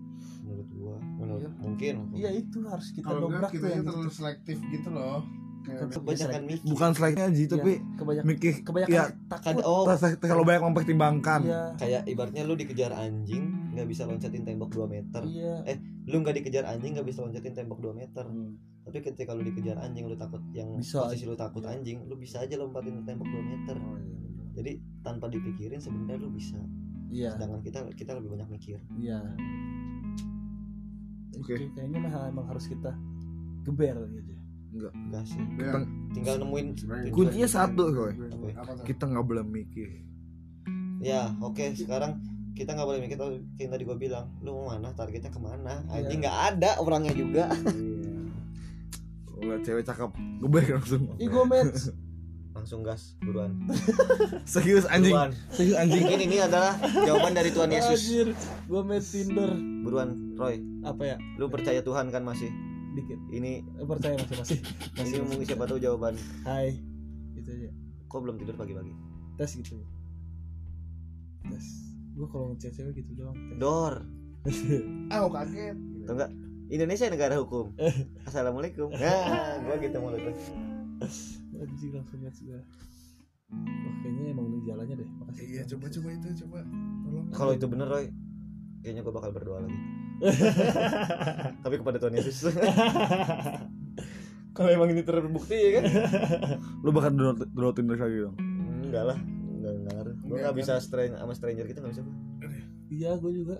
S1: menurut gue menurut
S2: Iya.
S1: mungkin
S2: Iya itu harus kita
S6: Kalau enggak
S2: dobrak tuh
S6: kita
S2: yang
S6: terlalu selektif gitu loh. Kayak
S5: kan.
S1: kebanyakan mikir
S5: bukan seleknya aja tapi
S2: kebanyakan
S5: mikir
S2: kebanyakan
S5: Iya.
S2: takut.
S1: Kad- oh
S5: terlalu terlalu banyak mempertimbangkan
S6: Hmm.
S2: Iya.
S1: kayak ibaratnya lu dikejar anjing nggak bisa loncatin tembok 2 meter
S2: Iya.
S1: lu nggak dikejar anjing nggak bisa loncatin tembok 2 meter
S6: Hmm.
S1: tapi ketika lu dikejar anjing lu takut yang
S2: Bisa
S1: posisi lu takut anjing lu bisa aja lompatin tembok 2 meter jadi tanpa dipikirin sebenarnya lu bisa
S2: Iya.
S1: sedangkan kita kita lebih banyak mikir
S2: Iya.
S5: Oke.
S2: Itu Kayaknya mah emang harus kita geber gitu.
S1: enggak sih
S6: Iya.
S1: tinggal nemuin
S5: kuncinya satu coy
S6: Apa tuh?
S5: kita nggak boleh mikir
S1: ya oke sekarang kita nggak boleh mikir tapi kayak tadi gua bilang lu mau mana targetnya kemana anjing
S2: Iya.
S1: nggak ada orangnya juga
S5: Ulah cewek cakep Gue langsung
S2: Ih gue match.
S1: langsung gas buruan
S5: Serius anjing
S1: buruan
S5: Serius anjing
S1: mungkin ini adalah jawaban dari Tuhan Yesus
S2: Anjir, gue match Tinder.
S1: buruan Roy
S2: Apa ya?
S1: lu percaya Tuhan kan masih
S2: Dikit.
S1: ini
S2: Eh, Percaya masih masih.
S1: ini
S2: Masih
S1: mungkin siapa tahu jawaban
S2: Hai. Gitu aja.
S1: kok belum tidur pagi-pagi
S2: Tes gitu. Tes. Gue kalau ngechat cewek gitu doang. tes.
S1: dor
S6: Ah, gua kaget.
S1: atau enggak Indonesia negara hukum assalamualaikum nah gua gitu mulu tuh
S2: Anjir langsung match gue. Wah kayaknya emang ini jalannya deh. Makasih.
S5: Iya coba coba itu coba Tolong
S1: kalau itu bener Roy kayaknya gua bakal berdoa lagi tapi kepada Tuhan Yesus kalau emang ini terbukti ya kan
S5: Lu bakal download download Tinder lagi dong
S1: enggak lah enggak enggak ngaruh gua nggak bisa stranger sama stranger kita nggak bisa gua.
S2: Iya gue juga.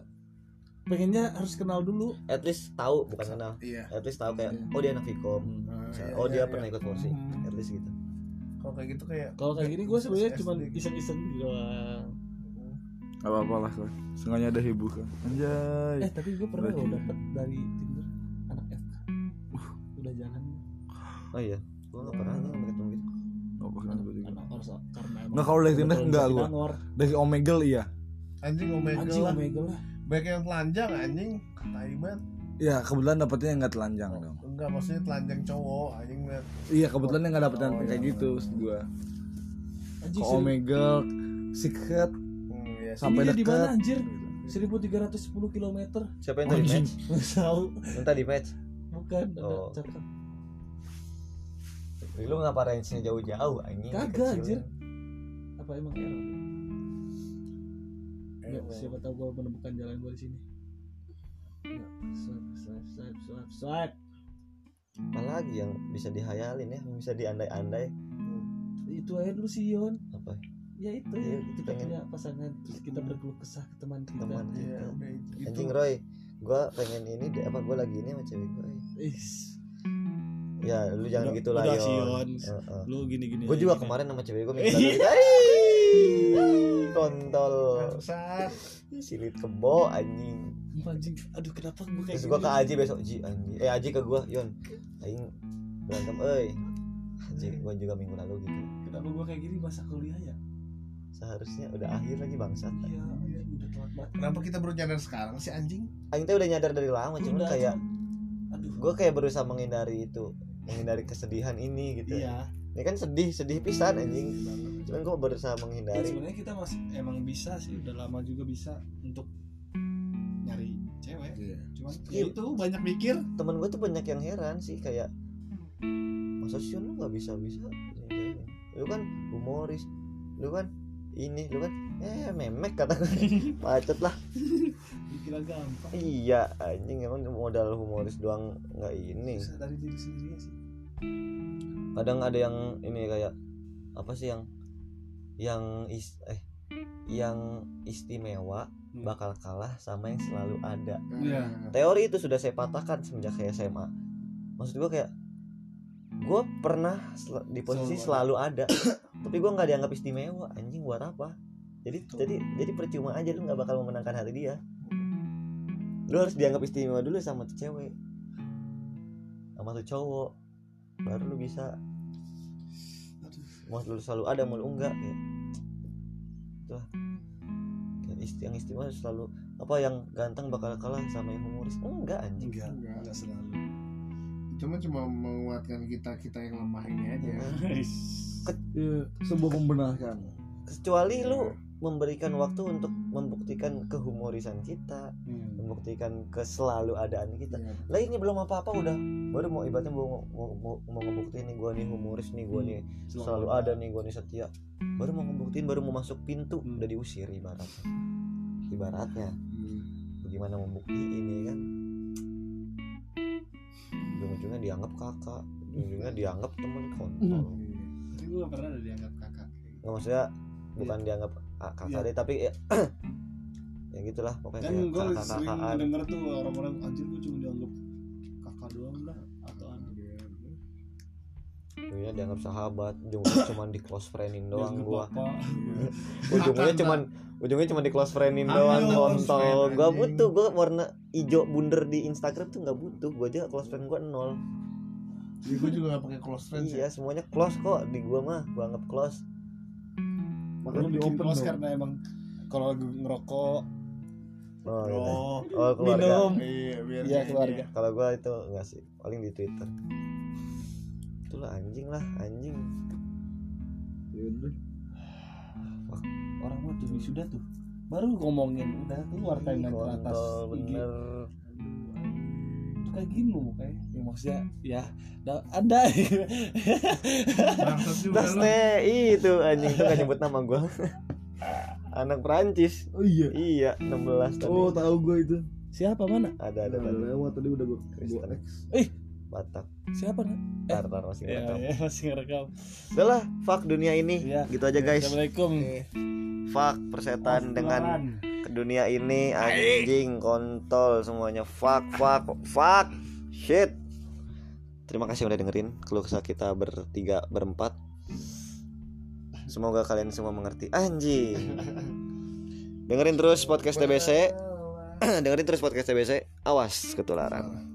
S2: Pengennya harus kenal dulu.
S1: at least tahu bukan kenal
S6: Iya.
S1: at least tahu kayak oh dia anak Vkom
S6: Ah,
S1: Misalnya, oh dia pernah ikut kursi at least gitu
S6: Kalau kayak gitu kayak
S2: Kalau kayak gini gue sebenarnya
S6: SD.
S2: cuma iseng-iseng gitu doang.
S5: Gak apa-apa lah coy. Sengaja ada hiburan Anjay
S2: Eh tapi gue pernah
S5: Berarti
S2: loh
S5: ya.
S2: dapet dari Tinder anak FK. Udah jalan
S1: oh iya gua nggak pernah nggak ketemu gitu
S5: Gak apa-apa kan gue juga.
S2: anak Orso karena emang
S5: Nggak, kalau dari Tinder
S2: kebetulan
S5: enggak
S2: bisa
S5: gua
S2: dinor.
S5: Dari Omegle iya
S6: anjing omega
S2: Anjing
S6: lah.
S2: Omega lah.
S6: Baik yang telanjang anjing. Tai banget.
S5: Iya kebetulan dapetnya yang gak telanjang dong
S6: Enggak maksudnya telanjang cowok anjing banget.
S5: Iya kebetulan yang gak dapet yang
S6: Oh,
S5: kayak
S6: iya.
S5: gitu maksud gua
S2: Anjing
S5: Ke
S2: seribu-
S5: Omegle Secret
S6: Hmm, iya sih.
S2: ini
S5: sampai
S2: dia iya. di mana
S5: deket
S2: anjir? 1310 km.
S1: siapa yang tadi match
S2: Nggak tahu.
S1: yang tadi match
S2: Bukan ada
S1: Oh.
S2: cakep.
S1: lu ngapa range nya jauh-jauh anjing
S2: Kagak
S1: kecil. kan.
S2: anjir. Apa emang error?
S4: Iya,
S2: Ya, siapa tahu gue menemukan jalan gue di sini. Ya, Swipe, swipe, swipe, swipe, swipe.
S1: apalagi yang bisa dihayalin ya yang bisa diandai-andai
S2: Itu aja dulu sih Yon.
S1: apa
S2: ya itu
S1: Iya,
S2: ya, kita
S1: pengen.
S2: punya pasangan terus kita berkeluh kesah ke teman kita
S1: Teman
S2: Iya,
S1: kita.
S2: udah gitu.
S1: anjing Roy gue pengen ini deh, apa gue lagi ini sama cewek gue
S2: Ih,
S1: ya lu jangan
S4: Udah-
S1: gitu lah
S4: udah,
S1: Yon.
S4: Sion.
S1: Heeh.
S4: lu gini gini
S1: gue
S4: aja,
S1: juga
S4: gini.
S1: kemarin sama cewek gue minta duit Ih, kontol
S6: Kan
S5: Bangsat.
S1: silit kebo anjing
S2: anjing
S4: aduh kenapa gue kayak
S1: terus gue ke
S4: gini?
S1: Aji besok Ji anjing eh Aji ke gue Yon aing berantem eh Aji gue juga minggu lalu gitu
S2: kenapa gua kayak gini masa kuliah ya
S1: seharusnya udah akhir lagi bangsat
S2: iya anjing, udah telat banget
S5: Kenapa kita baru nyadar sekarang sih anjing?
S1: Aing teh udah nyadar dari lama cuman
S2: Udah,
S1: kayak
S2: cuman- aduh
S1: gue kayak berusaha menghindari itu menghindari kesedihan ini gitu
S4: iya
S1: ini kan sedih sedih pisan anjing cuman gue berusaha
S4: Ya,
S1: menghindari
S4: sebenarnya kita masih emang bisa sih udah lama juga bisa untuk nyari cewek
S5: Iya.
S4: cuman
S1: Iya.
S4: ya itu banyak mikir
S1: temen gue tuh banyak yang heran sih kayak
S2: Hmm.
S1: masa sih lu nggak bisa bisa lu kan humoris lu kan ini lu kan eh memek kata gue macet lah
S4: dikira gampang
S1: iya anjing emang modal humoris doang nggak ini
S2: bisa dari diri sendiri sih
S1: kadang ada yang ini kayak apa sih yang yang is, eh yang istimewa
S4: Hmm.
S1: bakal kalah sama yang selalu ada
S4: Iya.
S1: teori itu sudah saya patahkan semenjak saya SMA maksud gue kayak gue pernah sel- di posisi selalu
S4: Selalu
S1: ada tapi gue nggak dianggap istimewa anjing buat apa jadi jadi jadi percuma aja lu nggak bakal memenangkan hati dia lu harus dianggap istimewa dulu sama tuh cewek sama tuh cowok baru lu bisa mau lu selalu ada mau lu enggak ya. Itulah. Dan isti- yang istimewa selalu apa yang ganteng bakal kalah sama yang humoris enggak anjing
S4: enggak enggak selalu
S6: cuma cuma menguatkan kita kita yang lemah ini aja
S2: sebuah membenarkan
S1: kecuali lu memberikan waktu untuk membuktikan kehumorisan kita membuktikan keselalu adaan kita
S6: Iya.
S1: lah ini belum apa apa udah baru mau ibaratnya mau mau, mau, mau ngebuktiin nih gua nih humoris nih gua nih selalu ada nih gua nih setia baru mau ngebuktiin baru mau masuk pintu
S4: Hmm.
S1: udah diusir ibaratnya ibaratnya
S6: Hmm.
S1: bagaimana membuktiin ya kan ujung-ujungnya dianggap kakak ujung-ujungnya dianggap teman kontol
S4: Hmm. tapi gue gak pernah ada dianggap kakak
S1: nggak maksudnya bukan dianggap ah, kakak
S4: Iya.
S1: deh tapi ya, ya gitulah pokoknya
S4: dan
S2: Iya,
S1: kayak
S4: gue sering
S1: kakak-kakakan
S4: denger tuh orang-orang anjir gue cuma dianggap kakak doang lah atau anak
S2: Iya,
S1: ujungnya dianggap sahabat ujungnya cuma di close friendin doang
S4: Dianggap
S1: gua
S4: bapak.
S1: ujungnya
S4: Kakak,
S1: cuman ujungnya cuma di close friendin
S5: Aduh,
S1: doang
S5: close
S1: kontol
S5: friend,
S1: gua
S5: anjing.
S1: butuh gua warna ijo bunder di Instagram tuh nggak butuh gua aja close friend gua nol
S2: ya gua juga gak pakai close friends
S6: ya.
S1: iya semuanya close kok di gua mah gua anggap close
S4: Lu bikin close karena emang kalau lagi ngerokok
S1: oh, gitu.
S4: oh
S1: oh keluarga
S6: iya biar
S4: iya keluarga
S1: kalau gua itu enggak sih paling di Twitter itulah anjing lah anjing
S2: orang mah tuh sudah tuh baru ngomongin udah keluar
S1: Iya,
S2: timeline ke atas
S1: kontol
S2: IG.
S1: bener
S2: tuh kayak gini loh mukanya ya, maksudnya
S1: Hmm.
S2: ya da- ada
S6: bangsat juga lu
S1: Daste itu anjing tuh gak nyebut nama gua anak Perancis
S2: oh iya
S1: iya 16 tadi
S2: oh tahu gue itu siapa mana
S1: ada ada tadi
S2: lewat tadi udah gue
S1: Kristen
S2: Eh.
S1: Batak
S2: siapa nak
S1: tar tar masih
S2: Iya,
S4: ya,
S1: Batak
S4: ya masih ngerekam
S1: udah lah fuck dunia ini
S4: Iya.
S1: gitu aja guys
S4: assalamualaikum
S1: fuck persetan dengan ke dunia ini anjing kontol semuanya fuck fuck fuck shit terima kasih udah dengerin keluh kesah kita bertiga berempat semoga kalian semua mengerti anjing dengerin terus podcast TBC dengerin terus podcast TBC awas ketularan